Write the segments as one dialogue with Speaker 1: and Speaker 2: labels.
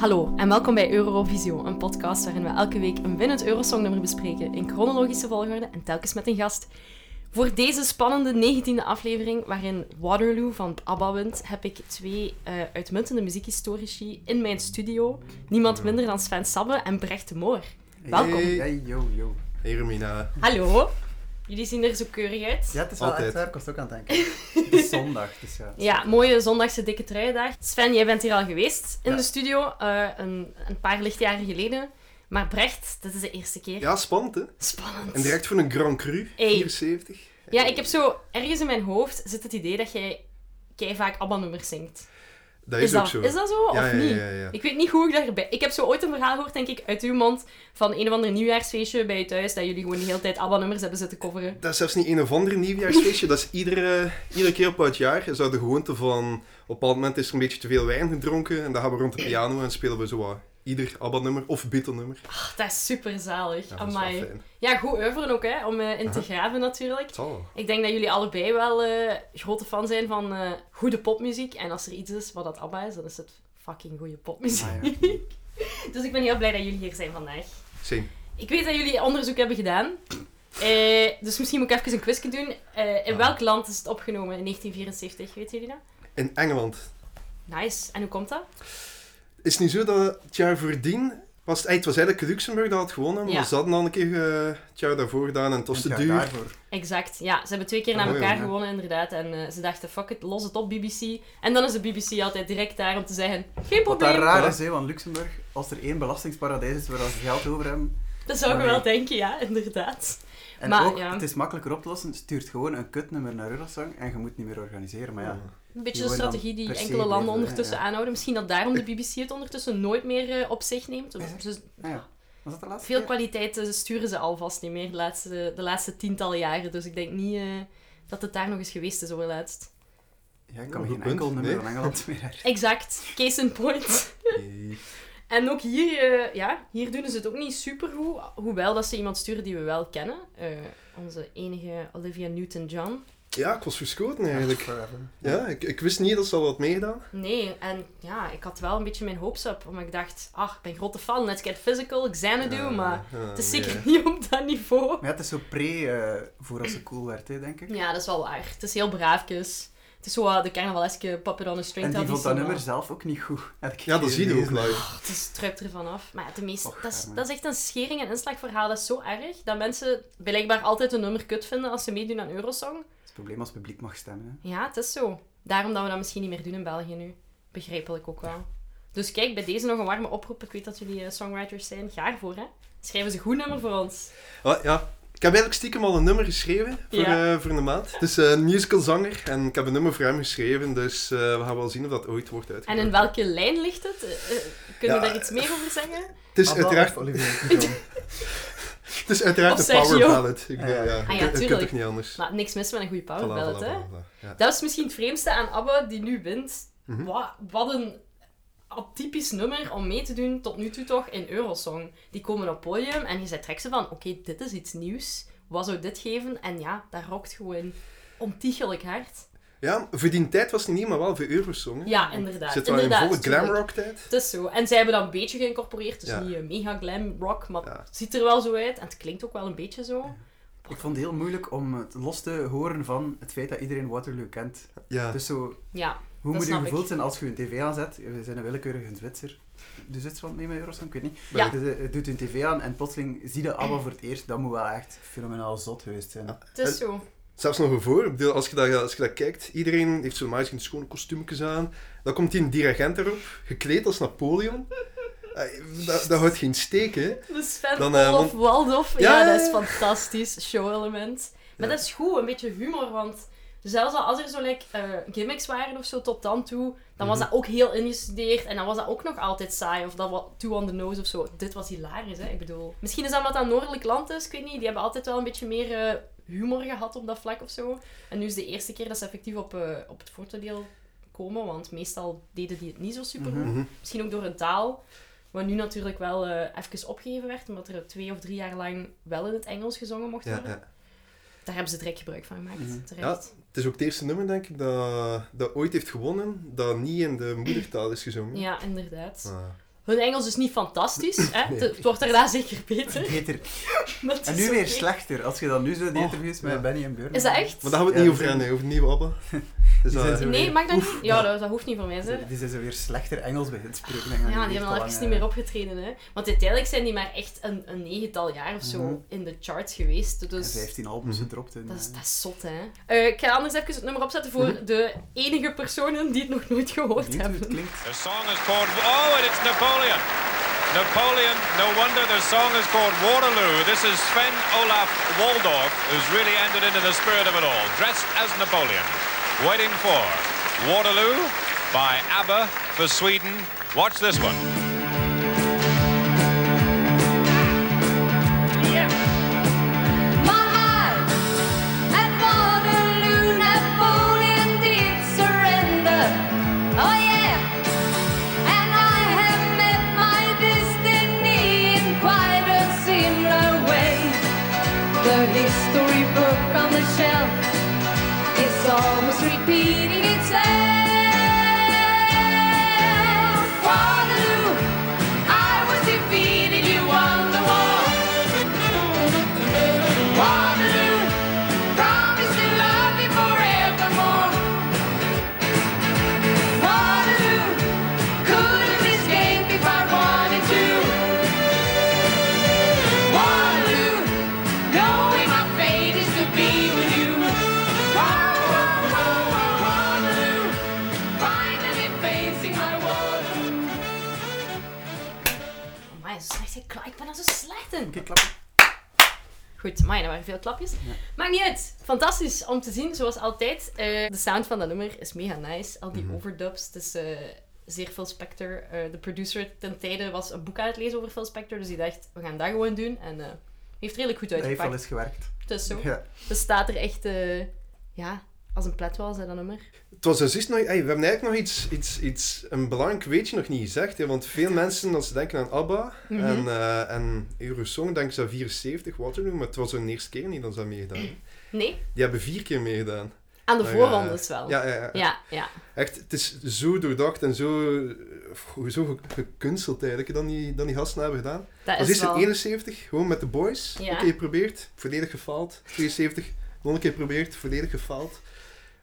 Speaker 1: Hallo en welkom bij Eurovisio, een podcast waarin we elke week een winnend Eurosongnummer bespreken in chronologische volgorde en telkens met een gast. Voor deze spannende 19e aflevering, waarin Waterloo van ABBA wint, heb ik twee eh, uitmuntende muziekhistorici in mijn studio. Niemand minder dan Sven Sabbe en Brecht de Moor. Welkom.
Speaker 2: Hey.
Speaker 3: Hey, yo, yo.
Speaker 2: Hey Romina.
Speaker 1: Hallo. Jullie zien er zo keurig uit.
Speaker 3: Ja, het is wel
Speaker 2: Altijd.
Speaker 3: echt waar. Ik was ook aan het denken. Het is zondag, dus ja.
Speaker 1: Ja, mooie zondagse dikke truiendag. Sven, jij bent hier al geweest in
Speaker 2: Ja.
Speaker 1: de studio, eh, een, een paar lichtjaren geleden. Maar Brecht, dit is de eerste keer.
Speaker 2: Ja, spannend hè?
Speaker 1: Spannend.
Speaker 2: En direct voor een Grand Cru,
Speaker 1: Hey.
Speaker 2: 74.
Speaker 1: Ja, ik heb zo ergens in mijn hoofd zit het idee dat jij kei vaak ABBA-nummers zingt.
Speaker 2: Dat is,
Speaker 1: dat,
Speaker 2: ook zo.
Speaker 1: Is dat zo
Speaker 2: ja,
Speaker 1: of
Speaker 2: ja,
Speaker 1: niet?
Speaker 2: Ja, ja, ja.
Speaker 1: Ik weet niet hoe ik daarbij... Ik heb zo ooit een verhaal gehoord, denk ik, uit uw mond van een of ander nieuwjaarsfeestje bij je thuis, dat jullie gewoon de hele tijd ABBA-nummers hebben zitten coveren.
Speaker 2: Dat is zelfs niet een of ander nieuwjaarsfeestje. dat is iedere, iedere keer op het jaar. Is dat de gewoonte van... Op een bepaald moment is er een beetje te veel wijn gedronken. En dan gaan we rond de piano en spelen we zo wat. Ieder ABBA-nummer of Beatle-nummer. Ja,
Speaker 1: Ach, dat is super zalig.
Speaker 2: dat is wel
Speaker 1: Amai.
Speaker 2: fijn.
Speaker 1: Ja, goed oeuvren ook, hè, om eh, in te graven natuurlijk.
Speaker 2: Het zal wel.
Speaker 1: Ik denk dat jullie allebei wel eh, grote fan zijn van eh, goede popmuziek. En als er iets is wat dat ABBA is, dan is het fucking goede popmuziek.
Speaker 3: Ah, ja.
Speaker 1: Dus ik ben heel blij dat jullie hier zijn vandaag.
Speaker 2: Same.
Speaker 1: Ik weet dat jullie onderzoek hebben gedaan. Eh, dus misschien moet ik even een quizje doen. Eh,
Speaker 3: Ah.
Speaker 1: in welk land is het opgenomen in 1974, weten jullie dat?
Speaker 2: In Engeland.
Speaker 1: Nice. En hoe komt dat?
Speaker 2: Is het niet zo dat het jaar voordien... Was het, eh, het was eigenlijk Luxemburg dat had gewonnen.
Speaker 1: Ja.
Speaker 2: Maar ze hadden al een keer eh, het jaar daarvoor gedaan. En het was
Speaker 3: Het
Speaker 2: te
Speaker 3: jaar
Speaker 2: duur.
Speaker 3: daarvoor.
Speaker 1: Exact. Ja, ze hebben twee keer na
Speaker 2: Mooi,
Speaker 1: elkaar
Speaker 3: hoor.
Speaker 1: gewonnen, inderdaad. En eh, ze dachten, fuck it, los het op, BBC. En dan is de BBC altijd direct daar om te zeggen, geen
Speaker 3: Wat daar
Speaker 1: probleem.
Speaker 3: raar is, hè, want Luxemburg, als er één belastingsparadijs is waar ze geld over hebben,
Speaker 1: Dat zou je
Speaker 3: Nee.
Speaker 1: wel denken, ja, inderdaad.
Speaker 3: en
Speaker 1: Maar,
Speaker 3: ook,
Speaker 1: ja.
Speaker 3: het is makkelijker op te lossen, stuurt gewoon een kutnummer naar Eurosong en je moet niet meer organiseren. Maar ja,
Speaker 1: Een beetje
Speaker 3: Die
Speaker 1: de
Speaker 3: worden dan
Speaker 1: strategie die
Speaker 3: per se
Speaker 1: enkele landen
Speaker 3: blijven, hè,
Speaker 1: ondertussen
Speaker 3: ja.
Speaker 1: aanhouden. Misschien dat daarom de BBC het ondertussen nooit meer eh, op zich neemt. Dus- Dus
Speaker 3: Ah ja. was dat de laatste
Speaker 1: veel
Speaker 3: keer?
Speaker 1: kwaliteit eh, sturen ze alvast niet meer de laatste, de laatste tientallen jaren. Dus ik denk niet eh, dat het daar nog eens geweest is overlaatst.
Speaker 3: Ja, ik kan
Speaker 2: Oh,
Speaker 3: me
Speaker 2: goed
Speaker 3: geen
Speaker 2: punt.
Speaker 3: enkel nummer
Speaker 2: Nee.
Speaker 3: van Engeland meer herinneren.
Speaker 1: Exact. Case in point.
Speaker 2: Nee.
Speaker 1: En ook hier, eh, ja, hier doen ze het ook niet supergoed. Hoewel dat ze iemand sturen die we wel kennen. Eh, onze enige Olivia Newton-John.
Speaker 2: Ja, ik was verschoten eigenlijk.
Speaker 3: Forever.
Speaker 2: Ja, ik, ik wist niet dat ze al wat meegedaan.
Speaker 1: Nee, en ja, ik had wel een beetje mijn hopes op. Omdat ik dacht, ach, ik ben grote fan. Let's get physical, Xanadu,
Speaker 2: Ja,
Speaker 1: maar...
Speaker 2: ja,
Speaker 1: Het is
Speaker 2: Ah, nee.
Speaker 1: zeker niet op dat niveau.
Speaker 3: Maar ja, het is zo pre eh, voor als ze cool werd, hè, denk ik.
Speaker 1: Ja, dat is wel waar. Het is heel braafjes. Het is zo wat de carnavaleske Puppet on a String.
Speaker 3: en die vond dat
Speaker 1: traditie,
Speaker 3: nummer
Speaker 1: maar
Speaker 3: zelf ook niet goed. heb ik
Speaker 2: Ja, dat zie je ook
Speaker 3: gelezen.
Speaker 2: live.
Speaker 1: Oh, Het is- het druipt ervan af. Maar ja, de meeste,
Speaker 3: Och,
Speaker 1: dat, is,
Speaker 3: arme.
Speaker 1: dat is echt een schering en inslagverhaal. Dat is zo erg dat mensen blijkbaar altijd een nummer kut vinden als ze meedoen aan Eurosong.
Speaker 3: Het is het probleem als het publiek mag stemmen. Hè.
Speaker 1: Ja, het is zo. Daarom dat we dat misschien niet meer doen in België nu. Begrijpelijk ook wel. Dus kijk, bij deze nog een warme oproep. Ik weet dat jullie eh, songwriters zijn. Ga ervoor, hè. Schrijf eens een goed nummer voor ons.
Speaker 2: Ah, ja. Ik heb eigenlijk stiekem al een nummer geschreven voor,
Speaker 1: Ja.
Speaker 2: eh, voor een maat. Het is eh, een musicalzanger en ik heb een nummer voor hem geschreven, dus eh, we gaan wel zien of dat ooit wordt
Speaker 1: En
Speaker 2: uitgevoerd.
Speaker 1: in welke lijn ligt het? Eh, eh, kunnen we
Speaker 2: Ja,
Speaker 1: daar iets meer over zeggen?
Speaker 2: Het is
Speaker 3: Abba
Speaker 2: uiteraard,
Speaker 3: of Olivier Newton-John?
Speaker 2: het is uiteraard
Speaker 1: Of
Speaker 2: een power
Speaker 1: Sergio.
Speaker 2: ballad. Ik bedoel,
Speaker 3: Ah,
Speaker 2: ja.
Speaker 3: ja.
Speaker 2: Het-
Speaker 1: Ah, ja,
Speaker 2: het kan
Speaker 1: tuurlijk.
Speaker 2: toch niet anders.
Speaker 1: Maar niks mis met een goede
Speaker 2: Voilà,
Speaker 1: powerballad,
Speaker 2: voilà,
Speaker 1: hè?
Speaker 2: voilà, voilà. Ja.
Speaker 1: Dat is misschien het vreemdste aan ABBA die nu wint.
Speaker 2: Mhm.
Speaker 1: Wa- Wat, een atypisch nummer om mee te doen tot nu toe toch in Eurosong. Die komen op podium en je zet trekt ze van, oké, dit is iets nieuws. Wat zou dit geven? En ja, dat rokt gewoon ontiegelijk hard.
Speaker 2: Ja, voor die tijd was het niet, maar wel voor Eurosong. hè.
Speaker 1: Ja, inderdaad.
Speaker 2: Zit wel in
Speaker 1: inderdaad,
Speaker 2: volle
Speaker 1: tuurlijk.
Speaker 2: glamrock tijd.
Speaker 1: Het is zo. En zij hebben dat een beetje geïncorporeerd. Dus
Speaker 2: Ja.
Speaker 1: niet eh, mega glam rock, maar
Speaker 2: Ja.
Speaker 1: het ziet er wel zo uit. En het klinkt ook wel een beetje zo.
Speaker 3: Ik vond het heel moeilijk om het los te horen van het feit dat iedereen Waterloo kent.
Speaker 2: Ja.
Speaker 3: Dus zo,
Speaker 1: Ja,
Speaker 3: hoe
Speaker 1: Dat
Speaker 3: moet je
Speaker 1: snap ik.
Speaker 3: gevoeld zijn als je een tv aanzet? We zijn een willekeurige Zwitser. De Zwitserland mee met Eurosong, ik weet niet.
Speaker 1: Ja.
Speaker 3: Dus, eh, doet een tv aan en plotseling zie je ABBA voor het eerst. Dat moet wel echt fenomenaal zot geweest zijn.
Speaker 2: Ja.
Speaker 1: het is
Speaker 2: En-
Speaker 1: zo.
Speaker 2: Zelfs nog ervoor, ik bedoel, als je dat, als je dat kijkt, iedereen heeft zo'n magisch schone kostuumjes aan. Dan komt die dirigent erop, gekleed als Napoleon. Eh, Dat, dat houdt geen steek, hè.
Speaker 1: De Sven
Speaker 2: Dan, eh,
Speaker 1: Olof Waldorf. Ja,
Speaker 2: Ja, ja,
Speaker 1: dat is
Speaker 2: ja.
Speaker 1: fantastisch. Show-element. Maar
Speaker 2: Ja.
Speaker 1: dat is goed, een beetje humor. Want zelfs al als er zo like, eh, gimmicks waren of zo tot dan toe, dan
Speaker 2: Mhm.
Speaker 1: was dat ook heel ingestudeerd. En dan was dat ook nog altijd saai. Of dat was too on the nose of zo. Dit was hilarisch, hè. Ik bedoel... Misschien is dat omdat dat een noordelijk land is. Ik weet niet. Die hebben altijd wel een beetje meer... eh, humor gehad op dat vlak of zo. En nu is de eerste keer dat ze effectief op, eh, op het voordeel komen, want meestal deden die het niet zo super goed.
Speaker 2: Mhm.
Speaker 1: Misschien ook door een taal, wat nu natuurlijk wel eh, even opgegeven werd, omdat er twee of drie jaar lang wel in het Engels gezongen mocht
Speaker 2: Ja,
Speaker 1: worden.
Speaker 2: ja.
Speaker 1: Daar hebben ze direct gebruik van gemaakt,
Speaker 3: Mhm.
Speaker 1: terecht.
Speaker 2: Het is ook het eerste nummer, denk ik, dat, dat ooit heeft gewonnen, dat niet in de moedertaal is gezongen.
Speaker 1: Ja, inderdaad.
Speaker 2: Ah.
Speaker 1: Hun Engels is niet fantastisch. Hè?
Speaker 2: Nee.
Speaker 1: Het- Het wordt daarna zeker beter.
Speaker 3: Beter.
Speaker 1: Maar het
Speaker 3: En
Speaker 1: is
Speaker 3: nu
Speaker 1: oké.
Speaker 3: weer slechter, als je dan nu zo die
Speaker 2: Oh,
Speaker 3: interviews met
Speaker 2: ja.
Speaker 3: Benny en Björn
Speaker 1: Is dat echt?
Speaker 2: Maar daar hebben we het
Speaker 3: Ja,
Speaker 2: niet
Speaker 3: dat zijn-
Speaker 2: over hebben, hè, over de nieuwe ABBA. Dus
Speaker 3: Die
Speaker 2: dat-
Speaker 3: zijn
Speaker 1: Nee, mag dat
Speaker 3: Oef.
Speaker 1: niet? Ja, dat, dat hoeft niet van mij. Hè?
Speaker 3: Die zijn zo weer slechter Engels bij het spreken. eh,
Speaker 1: Ja, die hebben al even niet meer opgetreden. Hè? Want uiteindelijk zijn die maar echt een, een negental jaar of zo
Speaker 3: Mhm.
Speaker 1: in de charts geweest. Dus
Speaker 3: 15 albums
Speaker 2: Mhm.
Speaker 3: gedropt in.
Speaker 1: dat is,
Speaker 3: eh,
Speaker 1: dat is zot, hè. Eh, ik ga anders even het nummer opzetten voor de enige personen die het nog nooit gehoord
Speaker 3: benieuwd hoe
Speaker 1: hebben.
Speaker 3: Mhm. het klinkt.
Speaker 4: The song is called Oh, and it's Napoleon. Napoleon, no wonder the song is called Waterloo. This is Sven Olaf Waldorf, who's really entered into the spirit of it all, dressed as Napoleon. Waiting for Waterloo by ABBA for Sweden. Watch this one.
Speaker 5: The history book on the shelf is almost repeating itself. Waterloo, I was defeated, you won the war. Waterloo, promise to love me forevermore. Waterloo, could have escaped if I wanted to. Waterloo, knowing my fate is to be with you. Wa- wa- wa- wa- Waterloo, finally facing my waterloo.
Speaker 1: Amai, zo slecht. Ik ik ben er zo slecht in.
Speaker 3: Oké, klappen.
Speaker 1: Goed, maar er waren veel klapjes. Maakt niet uit. Fantastisch om te zien, zoals altijd. Eh, de sound van dat nummer is mega nice. Al die overdubs. Het is eh, zeer Phil Spector. Eh, de producer ten tijde was een boek aan het lezen over Phil Spector. Dus die dacht, we gaan dat gewoon doen. En eh, heeft redelijk goed
Speaker 3: Dat heeft wel
Speaker 1: uitgepakt.
Speaker 3: eens gewerkt.
Speaker 1: Het is zo.
Speaker 3: Ja.
Speaker 1: Dus staat er echt, eh, ja, als een pletwal, zei dat nummer.
Speaker 2: Het was dus nog, hey, we hebben eigenlijk nog iets, iets, iets, een belangrijk weetje nog niet gezegd. Hè, want veel mensen, als ze denken aan ABBA
Speaker 1: Mhm.
Speaker 2: en, eh, en Eurosong, denken ze aan 74, Waterloo. Maar het was hun eerste keer niet dat ze dat meegedaan.
Speaker 1: Nee,
Speaker 2: Die hebben vier keer meegedaan.
Speaker 1: aan de
Speaker 2: Maar,
Speaker 1: voorrondes
Speaker 2: eh,
Speaker 1: wel.
Speaker 2: Ja, ja, ja.
Speaker 1: ja. ja.
Speaker 2: Echt, het is zo doordacht en zo, eh, zo ge- gekunsteld eigenlijk, dan die, dan die gasten hebben gedaan.
Speaker 1: Dat
Speaker 2: Als
Speaker 1: is
Speaker 2: eerste
Speaker 1: wel...
Speaker 2: 71, gewoon met de boys.
Speaker 1: Ja.
Speaker 2: Een keer geprobeerd, volledig gefaald. 72, nog een keer geprobeerd, volledig gefaald.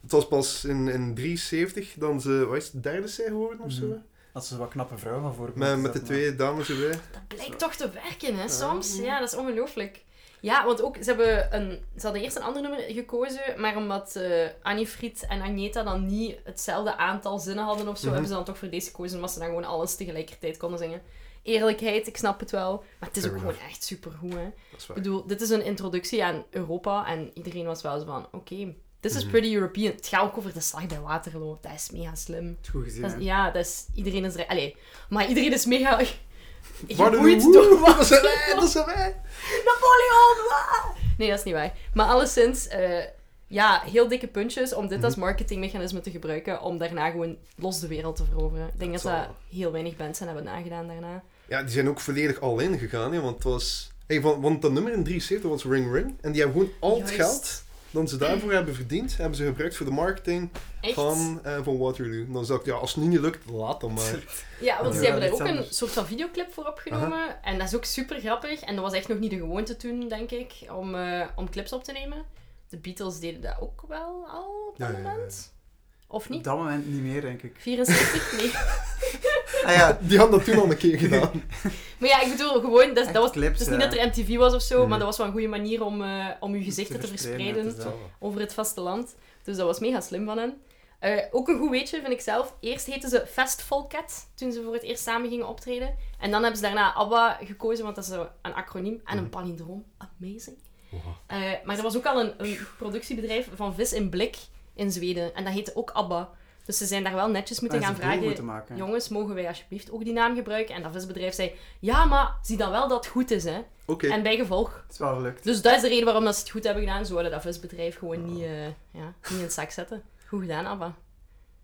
Speaker 2: Het was pas in, in 73 dan ze, wat is het, derde zijn geworden of zo?
Speaker 3: Mhm. Als ze wat knappe vrouw van voor
Speaker 2: Met, met de twee dames erbij.
Speaker 1: Dat blijkt toch te werken, hè, soms.
Speaker 2: Mm.
Speaker 1: Ja, dat is ongelooflijk. Ja, want ook, ze, hebben een, ze hadden eerst een ander nummer gekozen, maar omdat eh Annie Fried en Agneta dan niet hetzelfde aantal zinnen hadden of zo,
Speaker 2: Mhm.
Speaker 1: hebben ze dan toch voor deze gekozen, omdat ze dan gewoon alles tegelijkertijd konden zingen. Eerlijkheid, ik snap het wel, maar het is
Speaker 2: Fair
Speaker 1: ook
Speaker 2: enough.
Speaker 1: gewoon echt supergoed, hè.
Speaker 2: Dat is
Speaker 1: Ik
Speaker 2: waar.
Speaker 1: bedoel, dit is een introductie aan Europa en iedereen was wel zo van, oké, this
Speaker 2: Mhm.
Speaker 1: is pretty European. Het gaat ook over de slag bij Waterloo, dat is mega slim.
Speaker 3: Goed gezien,
Speaker 1: Dat is-
Speaker 3: hè?
Speaker 1: ja, dat is, iedereen is er... Allee, maar iedereen is mega...
Speaker 2: Waterloo,
Speaker 1: Geboeid
Speaker 2: woe,
Speaker 1: door wat
Speaker 2: Dat zijn wij, dat zijn wij!
Speaker 1: Napoleon! ah! Nee, dat is niet waar. Maar alleszins, eh, ja, heel dikke puntjes om
Speaker 2: Mhm.
Speaker 1: dit als marketingmechanisme te gebruiken om daarna gewoon los de wereld te veroveren. Ik denk dat,
Speaker 2: Dat
Speaker 1: dat,
Speaker 2: zal
Speaker 1: heel weinig mensen hebben nagedaan daarna.
Speaker 2: Ja, die zijn ook volledig al in gegaan, hè, want het was... Hey, want, want dat nummer in 73 was Ring Ring. En die hebben gewoon al het
Speaker 1: Juist.
Speaker 2: geld dat ze daarvoor hebben verdiend, hebben ze gebruikt voor de marketing
Speaker 1: Echt?
Speaker 2: van, eh, van Waterloo. En dan dacht ik, ja, als het nu niet lukt, laat dan maar.
Speaker 1: Ja, want ze
Speaker 3: Ja,
Speaker 1: hebben daar
Speaker 3: iets
Speaker 1: ook een
Speaker 3: anders.
Speaker 1: soort van videoclip voor opgenomen. En dat is ook super grappig. En dat was echt nog niet de gewoonte toen, denk ik, om, eh, om clips op te nemen. De Beatles deden dat ook wel al op dat
Speaker 2: Ja, ja, ja, ja.
Speaker 1: moment. Of
Speaker 3: Op
Speaker 1: niet?
Speaker 3: dat moment niet meer, denk ik.
Speaker 1: 74? Nee.
Speaker 3: Ah ja,
Speaker 2: Die hadden dat toen al een keer gedaan.
Speaker 1: Maar ja, ik bedoel, gewoon, dat, dat
Speaker 3: Echt
Speaker 1: was, het
Speaker 3: clips,
Speaker 1: is niet
Speaker 3: ja.
Speaker 1: dat er MTV was of zo,
Speaker 2: Nee.
Speaker 1: maar dat was wel een goede manier om, eh, om je gezichten te verspreiden
Speaker 3: dat is dat.
Speaker 1: over het vasteland. Dus dat was mega slim van hen. Eh, ook een goed weetje, vind ik zelf. Eerst heten ze Festvolket, toen ze voor het eerst samen gingen optreden. En dan hebben ze daarna ABBA gekozen, want dat is zo een acroniem en een palindroom. Amazing. Eh, maar er was ook al een, een productiebedrijf van Vis in Blik in Zweden. En dat heette ook ABBA. Dus ze zijn daar wel netjes moeten
Speaker 3: Ah, ze
Speaker 1: gaan
Speaker 3: een deal
Speaker 1: vragen.
Speaker 3: moeten maken.
Speaker 1: Jongens, mogen wij alsjeblieft ook die naam gebruiken? En dat visbedrijf zei, ja, maar zie dan wel dat het goed is, hè.
Speaker 2: Oké.
Speaker 1: En bij gevolg.
Speaker 3: Het is wel gelukt.
Speaker 1: Dus dat is de reden waarom dat ze het goed hebben gedaan. Ze wilden dat visbedrijf gewoon niet, eh, ja, niet in het zak zetten. Goed gedaan, Abba.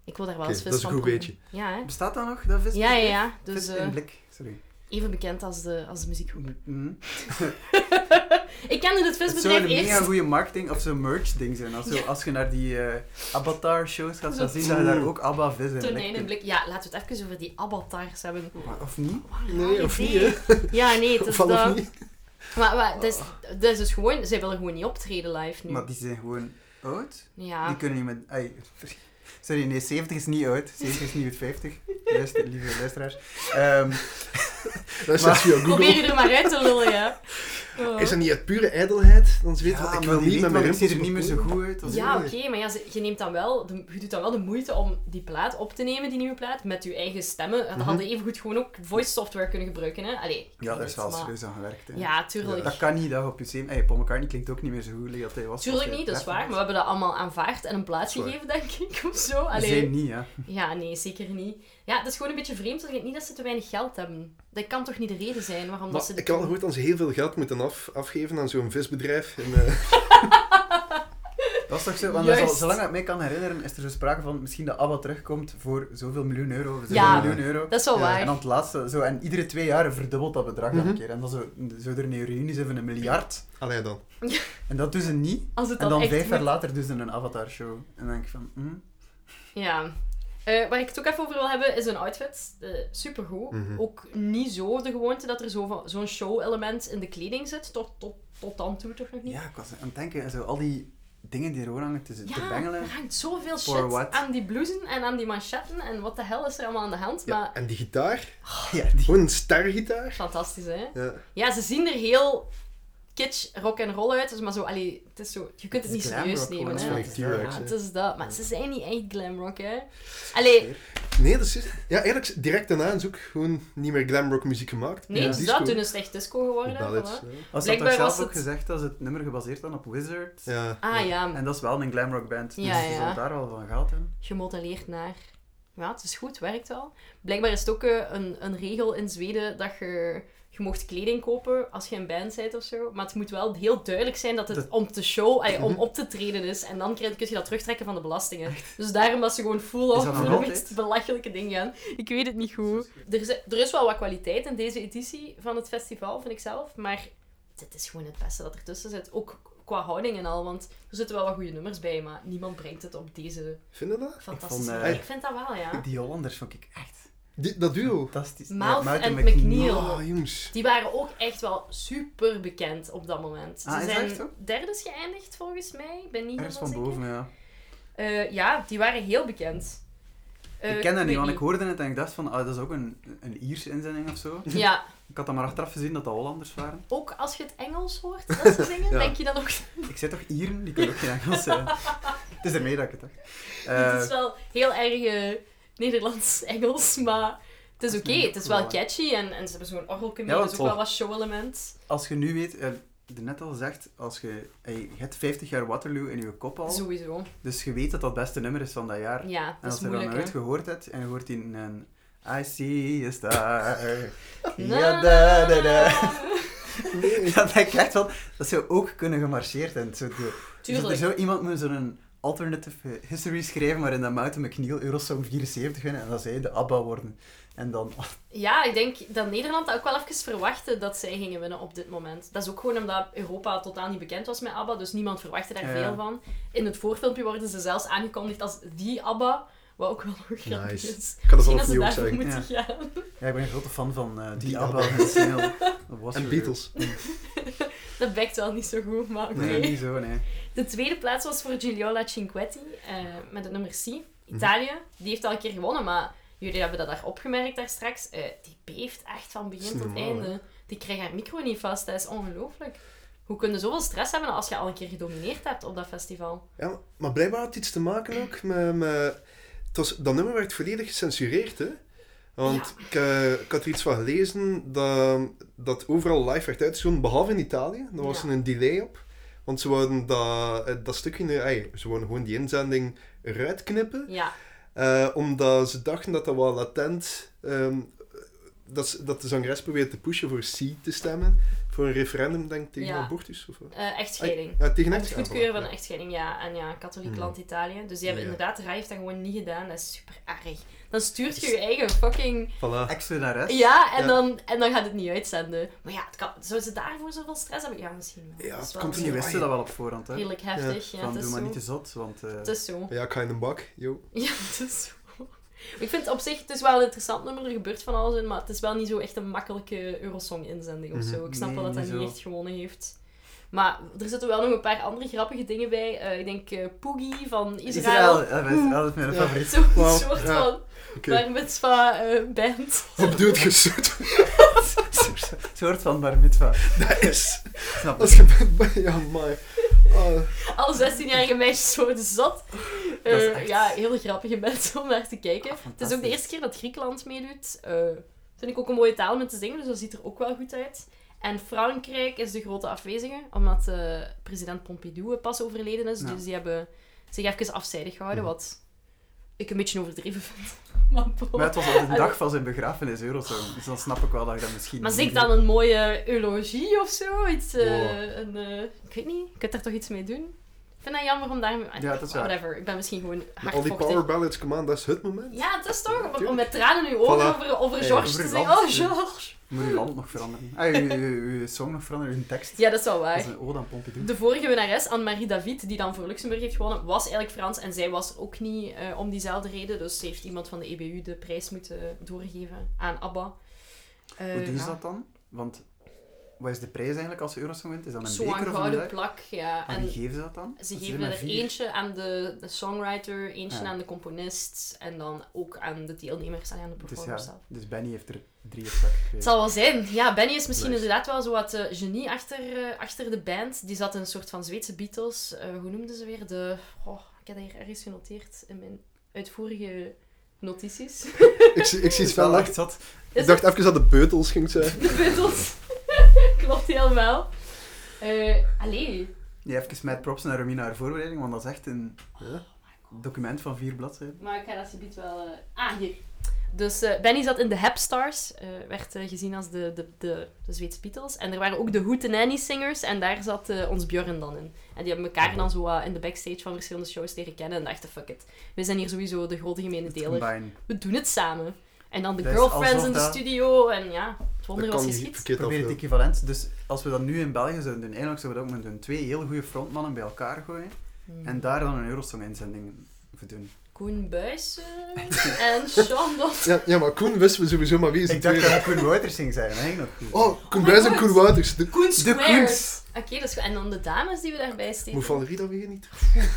Speaker 1: Ik wil daar wel
Speaker 2: Oké,
Speaker 1: eens vis
Speaker 2: dat is een
Speaker 1: van
Speaker 2: goed
Speaker 1: proeven. Ja, hè.
Speaker 3: Bestaat dat nog, dat vis?
Speaker 1: Ja, ja, ja. Dus
Speaker 3: vis
Speaker 1: eh,
Speaker 3: in blik, sorry.
Speaker 1: even bekend als de, als de muziekgroep.
Speaker 3: Mm, mm.
Speaker 1: Ik kende dus het
Speaker 3: Het zou
Speaker 1: visbedrijf
Speaker 3: een
Speaker 1: eerst.
Speaker 3: mega goede marketing of zo'n merch ding zijn. Als, zo, als je naar die eh, Avatar shows gaat, dan
Speaker 1: Zo.
Speaker 3: zien dat je daar ook Abba vis in
Speaker 1: Tonijn
Speaker 3: lekt.
Speaker 1: en blik. Ja, laten we het even over die avatars hebben.
Speaker 3: Maar Of niet?
Speaker 2: Nee, of niet, hè?
Speaker 1: Ja, nee, het dus is
Speaker 2: Van of
Speaker 1: dat.
Speaker 2: niet? Oh.
Speaker 1: Maar, maar het, is, het is dus gewoon, zij willen gewoon niet Ah. optreden live nu.
Speaker 3: Maar die zijn gewoon oud. Die
Speaker 1: Ja.
Speaker 3: kunnen niet met... ai, sorry, nee, 70 is niet oud. 70 is niet uit 50. Luister, lieve luisteraars. Ehm,
Speaker 2: Dat is zelfs via
Speaker 1: Probeer
Speaker 2: Google.
Speaker 1: je er maar uit te lullen, ja. Oh.
Speaker 2: Is dat niet uit pure ijdelheid? Dan weet
Speaker 3: ja,
Speaker 2: ik, ik
Speaker 3: maar die
Speaker 2: wil niet
Speaker 3: weet
Speaker 2: met
Speaker 3: wel,
Speaker 2: mijn
Speaker 3: Ik zie er
Speaker 2: rimpels
Speaker 3: niet meer zo
Speaker 2: bekoren.
Speaker 3: goed uit. als
Speaker 1: Ja, oké,
Speaker 3: vroeger.
Speaker 1: maar ja, ze- je, neemt dan wel, de- je doet dan wel de moeite om die plaat op te nemen, die nieuwe plaat, met je eigen stemmen. Dat
Speaker 3: Mhm.
Speaker 1: hadden even goed gewoon ook voice software kunnen gebruiken, hè? Allee, ik
Speaker 3: Ja,
Speaker 1: weet
Speaker 3: daar
Speaker 1: het,
Speaker 3: is wel
Speaker 1: maar-
Speaker 3: serieus aan gewerkt. Hè.
Speaker 1: Ja, tuurlijk.
Speaker 3: Dat kan niet, dat op je zeven... Hey, Paul McCartney klinkt ook niet meer zo goed dat hij was.
Speaker 1: Tuurlijk
Speaker 3: als hij
Speaker 1: niet, dat is waar. Maar
Speaker 3: dertig
Speaker 1: we
Speaker 3: was.
Speaker 1: hebben dat allemaal aanvaard en een plaats
Speaker 2: Dat is
Speaker 1: gegeven, denk ik, of zo.
Speaker 3: Ze
Speaker 1: Allee.
Speaker 3: zijn niet, ja.
Speaker 1: Ja, nee, zeker niet. Ja, het is gewoon een beetje vreemd. dat Ik niet dat ze te weinig geld hebben. Dat kan toch niet de reden zijn waarom dat
Speaker 2: Maar
Speaker 1: ze... dit
Speaker 2: ik had
Speaker 1: doen?
Speaker 2: gehoord dat ze heel veel geld moeten af, afgeven aan zo'n visbedrijf. En, eh,
Speaker 3: Dat is toch zo, want dat is al-
Speaker 1: Juist.
Speaker 3: zolang ik mij kan herinneren, is er zo sprake van misschien dat ABBA terugkomt voor zoveel miljoen euro. of Zoveel
Speaker 1: Ja,
Speaker 3: miljoen euro.
Speaker 1: Dat is wel
Speaker 2: Ja,
Speaker 1: waar.
Speaker 3: En dan het laatste, zo, en iedere twee jaar verdubbelt dat bedrag dan een keer. En dan zo, zo er een reunie zijn van een miljard.
Speaker 2: Allee dan.
Speaker 3: En dat doen ze niet.
Speaker 1: Als het dan,
Speaker 3: En dan
Speaker 1: echt
Speaker 3: vijf jaar
Speaker 1: moet-
Speaker 3: later doen ze een Avatar-show. En dan denk ik van, hm,
Speaker 1: Ja. Eh, waar ik het ook even over wil hebben, is hun outfit. Eh, supergoed.
Speaker 2: Mhm.
Speaker 1: Ook niet zo de gewoonte dat er zo van- zo'n show-element in de kleding zit. Tot, tot, tot dan toe toch nog niet?
Speaker 3: ja, ik was aan het denken, en zo, al die dingen die er gewoon hangen tussen te
Speaker 1: Ja,
Speaker 3: bengelen.
Speaker 1: er hangt zoveel
Speaker 3: For
Speaker 1: shit
Speaker 3: what?
Speaker 1: aan die blousen en aan die manchetten. En wat de hel is er allemaal aan de hand?
Speaker 2: Ja,
Speaker 1: Maar
Speaker 2: En die gitaar?
Speaker 1: Oh,
Speaker 3: Ja, die...
Speaker 2: Gewoon een stergitaar?
Speaker 1: fantastisch, hè?
Speaker 2: Ja.
Speaker 1: Ja, ze zien er heel kitsch rock and roll uit, dus maar zo, allee, het is zo, je kunt het
Speaker 3: die
Speaker 1: niet serieus
Speaker 3: glamrock
Speaker 1: nemen. Hè?
Speaker 3: gewoon,
Speaker 2: dat is wel echt
Speaker 1: Ja,
Speaker 2: T-Rex,
Speaker 1: het
Speaker 2: hè.
Speaker 1: is dat. Maar ze zijn niet echt glamrock, hè. Allee,
Speaker 2: Nee, dat is... Ja, eigenlijk direct daarna is ook gewoon niet meer glamrock muziek gemaakt.
Speaker 1: nee,
Speaker 2: Ja.
Speaker 1: dus
Speaker 2: Disco.
Speaker 1: dat toen is het echt disco geworden.
Speaker 2: Ballads,
Speaker 1: voilà.
Speaker 2: ja.
Speaker 3: Was dat toch
Speaker 1: Blijkbaar
Speaker 3: zelf
Speaker 1: was
Speaker 3: ook
Speaker 1: het-
Speaker 3: gezegd dat ze het nummer gebaseerd dan op Wizard?
Speaker 2: Ja.
Speaker 1: Ah ja,
Speaker 3: En dat is wel een glamrock band, dus
Speaker 1: Ja,
Speaker 3: ze
Speaker 1: ja.
Speaker 3: zullen daar wel van gehad hebben.
Speaker 1: gemodelleerd naar... Ja, het is goed, werkt wel. Blijkbaar is het ook eh, een, een regel in Zweden dat je... Je mocht kleding kopen als je een band bent of zo. Maar het moet wel heel duidelijk zijn dat het
Speaker 3: Dat- Mhm.
Speaker 1: om te show, allee, om op te treden is. En dan krijg- kun je dat terugtrekken van de belastingen. Dus daarom was ze gewoon full
Speaker 3: Is
Speaker 1: of
Speaker 3: dat nog
Speaker 1: voor nog
Speaker 3: altijd?
Speaker 1: iets belachelijke dingen aan. Ik weet het niet goed. Er is, er is wel wat kwaliteit in deze editie van het festival, vind ik zelf. Maar dit is gewoon het beste dat ertussen zit. Ook qua houding en al. Want er zitten wel wat goede nummers bij, maar niemand brengt het op deze
Speaker 2: Vind je dat?
Speaker 1: fantastische
Speaker 3: vond, eh,
Speaker 1: manier. Ik vind dat wel, ja.
Speaker 3: Die Hollanders vond ik echt
Speaker 2: Die, dat duo.
Speaker 3: fantastisch.
Speaker 1: Mouth
Speaker 3: Mouten
Speaker 1: and McNeil.
Speaker 2: Ah, jongens.
Speaker 1: Die waren ook echt wel super bekend op dat moment. Ze
Speaker 3: Ah, is dat
Speaker 1: zijn
Speaker 3: echt zo?
Speaker 1: derdes geëindigd volgens mij. Ik ben niet
Speaker 3: Ergens
Speaker 1: helemaal
Speaker 3: van
Speaker 1: zeker.
Speaker 3: boven, ja.
Speaker 1: Eh, ja, die waren heel bekend. Eh,
Speaker 3: ik ken dat
Speaker 1: weet
Speaker 3: niet, want ik hoorde het en ik dacht van, ah, dat is ook een, een Ierse inzending of zo.
Speaker 1: Ja,
Speaker 3: Ik had dan maar achteraf gezien dat dat Hollanders waren.
Speaker 1: ook als je het Engels hoort dat ze zingen,
Speaker 2: Ja.
Speaker 1: denk je dat ook.
Speaker 3: Ik zei toch Ieren? Die kunnen ook geen Engels zijn. het is ermee dat ik het dacht. Eh,
Speaker 1: het is wel heel erg eh, Nederlands-Engels, maar het is oké. Het is wel catchy en, en ze hebben zo'n orgelke mee,
Speaker 3: Ja, want
Speaker 1: dus ook wel
Speaker 3: voor-
Speaker 1: wat show-element.
Speaker 3: Als je nu weet, eh net al gezegd, als je, hey, je hebt 50 jaar Waterloo in je kop al,
Speaker 1: Sowieso.
Speaker 3: dus je weet dat dat het beste nummer is van dat jaar.
Speaker 1: Ja,
Speaker 3: en
Speaker 1: dat
Speaker 3: als
Speaker 1: is
Speaker 3: je dat
Speaker 1: moeilijk.
Speaker 3: nooit
Speaker 1: hè.
Speaker 3: gehoord hebt en je hoort die een I see a star.
Speaker 1: Na,
Speaker 3: Ja, da, da, da.
Speaker 2: Nee.
Speaker 3: Dat denk ik echt wel, dat zou ook kunnen gemarcheerd hebben. Zo de-
Speaker 1: Tuurlijk.
Speaker 3: Er zou iemand moeten zo'n alternative eh, history schrijven waarin dat Mountain McNeil Eurosong 74 winnen en dat zij de ABBA worden. En dan...
Speaker 1: Ja, ik denk dat Nederland dat ook wel even verwachtte dat zij gingen winnen op dit moment. Dat is ook gewoon omdat Europa totaal niet bekend was met ABBA, dus niemand verwachtte daar
Speaker 3: Ja.
Speaker 1: veel van. In het voorfilmpje worden ze zelfs aangekondigd als die ABBA, wat ook wel nog grappig
Speaker 2: Nice.
Speaker 1: is.
Speaker 2: Ik kan dat
Speaker 1: Misschien
Speaker 2: wel
Speaker 1: dat ze
Speaker 2: opnieuw ook
Speaker 1: daarvoor
Speaker 2: zeggen.
Speaker 1: moeten gaan.
Speaker 3: Ja, ik ben een grote fan van eh, die,
Speaker 2: Die
Speaker 3: ABBA.
Speaker 2: ABBA.
Speaker 3: en Snail. Dat was
Speaker 2: En
Speaker 3: er-
Speaker 2: Beatles.
Speaker 1: Dat bekt wel niet zo goed, maar oké.
Speaker 3: Nee, niet zo, nee.
Speaker 1: De tweede plaats was voor Giuliola Cinquetti eh, met het nummer C. Italië,
Speaker 2: Mhm.
Speaker 1: die heeft al een keer gewonnen, maar jullie hebben dat daar opgemerkt daar straks. Eh, die beeft echt van
Speaker 2: Is
Speaker 1: begin tot
Speaker 2: normaal,
Speaker 1: einde. Die krijgt haar micro niet vast, dat is ongelooflijk. Hoe kun je zoveel stress hebben als je al een keer gedomineerd hebt op dat festival?
Speaker 2: Ja, maar blijkbaar had het iets te maken ook met... met... Het was, dat nummer werd volledig gecensureerd, hè. Want ik, eh, ik had er iets van gelezen dat, dat overal live werd uitgezonden, behalve in Italië. Daar was
Speaker 1: Ja.
Speaker 2: er een delay op. Want ze wouden dat, eh, dat stukje... eh, ey, ze wouden gewoon die inzending eruit knippen.
Speaker 1: Ja,
Speaker 2: Eh, omdat ze dachten dat dat wel latent ehm, dat, ze- dat de zangeres probeert te pushen voor C te stemmen. Voor een referendum, denk ik, tegen
Speaker 1: Ja.
Speaker 2: abortus. Of, wat?
Speaker 1: Eh, echtscheiding.
Speaker 2: Ah, ja, tegen
Speaker 1: Om het
Speaker 2: echtscheiding,
Speaker 1: goedkeuren van
Speaker 2: ja.
Speaker 1: een echtscheiding, ja. En ja, katholiek
Speaker 2: Hmm.
Speaker 1: land Italië. Dus die hebben
Speaker 2: Ja.
Speaker 1: inderdaad, de RAI heeft dat gewoon niet gedaan. Dat is super erg. Dan stuurt je je eigen fucking...
Speaker 2: Voilà.
Speaker 3: Extra naar S.
Speaker 1: Ja, en,
Speaker 2: Ja.
Speaker 1: Dan, en dan gaat het niet uitzenden. Maar ja, het kan, zou ze daarvoor zoveel stress hebben? Ja, misschien wel.
Speaker 2: Ja,
Speaker 1: Dat is
Speaker 2: het
Speaker 1: wel
Speaker 2: komt
Speaker 3: Die
Speaker 2: niet
Speaker 3: wisten dat wel op voorhand, hè?
Speaker 1: Redelijk heftig. Ja,
Speaker 3: Van,
Speaker 1: het,
Speaker 3: doe
Speaker 1: is
Speaker 3: maar
Speaker 1: zo.
Speaker 3: niet te zot, want... eh,
Speaker 1: het is zo.
Speaker 2: Ja, ik ga in de bak, yo.
Speaker 1: Ja, het is zo. Ik vind het op zich, het is wel een interessant nummer, er gebeurt van alles in, maar het is wel niet zo echt een makkelijke Eurosong-inzending of zo. Ik snap
Speaker 3: Nee,
Speaker 1: wel dat
Speaker 3: niet
Speaker 1: dat niet
Speaker 3: zo.
Speaker 1: echt gewonnen heeft. Maar er zitten wel nog een paar andere grappige dingen bij. Eh, ik denk eh Poogie van Israël. Hm.
Speaker 3: Israël, dat is, dat is mijn
Speaker 2: Ja.
Speaker 3: favoriet.
Speaker 1: Zo'n
Speaker 2: Wauw,
Speaker 1: soort
Speaker 2: ja.
Speaker 1: van
Speaker 2: Oké.
Speaker 1: bar mitzvah eh, band.
Speaker 2: Wat bedoelt je, soort?
Speaker 3: Een soort van bar mitzwa.
Speaker 2: Dat is...
Speaker 3: Snap
Speaker 2: Als
Speaker 3: je?
Speaker 2: je bent... Ja, maar... Ah,
Speaker 1: Alle 16-jarige meisjes worden zat.
Speaker 3: Dat is
Speaker 1: Eh,
Speaker 3: echt- Ah,
Speaker 1: Ja, heel grappige mensen om naar te kijken. het is ook de
Speaker 3: fantastisch.
Speaker 1: eerste keer dat Griekenland meedoet. Eh vind ik ook een mooie taal om het te zingen, dus dat ziet er ook wel goed uit. En Frankrijk is de grote afwezige, omdat eh, president Pompidou pas overleden is.
Speaker 3: Ja.
Speaker 1: Dus die hebben zich even afzijdig gehouden,
Speaker 2: Mhm.
Speaker 1: wat ik een beetje overdreven vind. maar, bon.
Speaker 3: Maar het was op de dag van zijn begrafenis, Eurozone. Dus dan snap ik wel dat je dat misschien...
Speaker 1: Maar
Speaker 3: niet
Speaker 1: zing
Speaker 3: doet.
Speaker 1: dan een mooie eulogie of zo. Iets, eh,
Speaker 2: Wow.
Speaker 1: een, eh, ik weet niet, je kunt daar toch iets mee doen? Ik vind dat jammer om daar...
Speaker 3: Ja, dat is waar.
Speaker 1: Whatever, ik ben misschien gewoon
Speaker 2: maar al die
Speaker 1: hardvochtig.
Speaker 2: power ballads, come on, dat is het moment.
Speaker 1: Ja, het is toch, om, om
Speaker 2: Tuurlijk.
Speaker 1: met tranen in uw ogen
Speaker 2: Voilà.
Speaker 1: over, over
Speaker 2: Ja,
Speaker 1: Georges
Speaker 3: over
Speaker 1: te
Speaker 3: uw
Speaker 1: zeggen. Oh,
Speaker 3: land.
Speaker 1: Georges!
Speaker 3: Moet je land nog veranderen. Ah, je, je, je- je song nog veranderen, je tekst.
Speaker 1: Ja, dat is wel
Speaker 3: Dat
Speaker 1: waar.
Speaker 3: is een oh, ode aan Pompidou.
Speaker 1: De vorige winnares, Anne-Marie David, die dan voor Luxemburg heeft gewonnen, was eigenlijk Frans. En zij was er ook niet eh, om diezelfde reden. Dus heeft iemand van de EBU de prijs moeten doorgeven aan ABBA. Eh,
Speaker 3: Hoe doen
Speaker 1: ja.
Speaker 3: ze dat dan? Want wat is de prijs eigenlijk als Eurosong wint? Is dat een Ah,
Speaker 1: Zo'n
Speaker 3: beker of een
Speaker 1: gouden
Speaker 3: duik?
Speaker 1: plak, ja.
Speaker 3: En wie
Speaker 1: En
Speaker 3: geven ze dat dan?
Speaker 1: ze
Speaker 3: Want
Speaker 1: geven
Speaker 3: zijn
Speaker 1: er
Speaker 3: maar vier.
Speaker 1: eentje aan de, de songwriter, eentje
Speaker 3: Ja.
Speaker 1: aan de componist. En dan ook aan de deelnemers en aan de
Speaker 3: Dus
Speaker 1: performers zelf.
Speaker 3: ja, dus Benny heeft er drie op zak gekregen.
Speaker 1: Het zal wel zijn. Ja, Benny is misschien
Speaker 2: Nice.
Speaker 1: inderdaad wel zo wat eh, genie achter, eh, achter de band. Die zat in een soort van Zweedse Beatles. Eh, hoe noemden ze weer? De... Oh, ik heb dat hier ergens genoteerd in mijn uitvoerige notities.
Speaker 2: Ik, zie- ik zie
Speaker 3: Het
Speaker 2: het
Speaker 3: is wel
Speaker 2: wel echt.
Speaker 3: echt zat.
Speaker 1: Is
Speaker 2: Ik dacht even dat de beutels ging zijn.
Speaker 1: De Beatles. Klopt helemaal. Eh allee.
Speaker 3: Ja, even met props naar Romina haar voorbereiding, want dat is echt een
Speaker 1: Oh
Speaker 3: document van vier bladzijden.
Speaker 1: Maar ik ga dat subiet wel... eh, Ah, hier. Dus eh, Benny zat in de Hepstars. eh werd eh, gezien als de, de, de, de Zweedse Beatles. En er waren ook de Hootenanny Singers. En daar zat eh, ons Björn dan in. En die hebben elkaar dan zo wat in de backstage van verschillende shows leren kennen. En dachten, fuck it. We zijn hier sowieso de grote gemene deler.
Speaker 3: Combine.
Speaker 1: We doen het samen. En dan de
Speaker 3: Dat is
Speaker 1: girlfriends
Speaker 3: alsof
Speaker 1: in de
Speaker 3: dat-
Speaker 1: studio. En ja, het wonder
Speaker 2: Dat
Speaker 1: was
Speaker 2: kan niet
Speaker 1: geschied.
Speaker 2: verkeerd
Speaker 3: Probeer het
Speaker 2: aflopen.
Speaker 3: equivalent. Dus als we dat nu in België zouden doen, eigenlijk zouden we dat ook moeten doen. Twee heel goede frontmannen bij elkaar gooien en daar dan een Eurosong-inzending voor doen.
Speaker 1: Hmm. Koen Buijs eh, en Sean Dot.
Speaker 2: Ja, ja, maar Koen wisten we sowieso maar wie is
Speaker 3: Ik
Speaker 2: het
Speaker 3: dacht
Speaker 2: tweede.
Speaker 3: dat het Koen Wouters ging zijn, hè? Nog goed.
Speaker 2: Oh, Koen Buijs en
Speaker 1: God.
Speaker 2: Koen Wouters. De...
Speaker 1: Koen
Speaker 3: Koens.
Speaker 1: Squares. Oké, dat is goed. En dan de dames die we daarbij steken.
Speaker 2: Moet Valerie dat weer niet?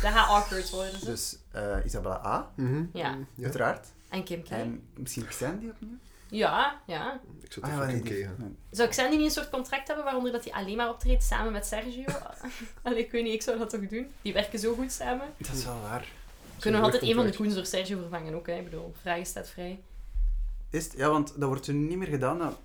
Speaker 1: Dat gaat awkward worden. zo.
Speaker 3: Dus eh, Isabella A,
Speaker 2: Mhm.
Speaker 1: Ja.
Speaker 2: ja.
Speaker 3: uiteraard.
Speaker 1: En Kim K.
Speaker 3: En misschien Xandy opnieuw?
Speaker 1: Ja, ja.
Speaker 2: Ik zat even
Speaker 3: nee,
Speaker 2: Kim
Speaker 3: Ah, die-
Speaker 2: K.
Speaker 3: nee.
Speaker 1: Zou Xandy niet een soort contract hebben waaronder dat hij alleen maar optreedt samen met Sergio? Allee, ik weet niet, ik zou dat toch doen? Die werken zo goed samen.
Speaker 3: Dat is wel waar.
Speaker 1: Kunnen we altijd een van de
Speaker 2: contract.
Speaker 1: Koens door Sergio vervangen ook, hè? Ik bedoel, vragen staat vrij.
Speaker 3: Is het- ja, want dat wordt er niet meer gedaan dat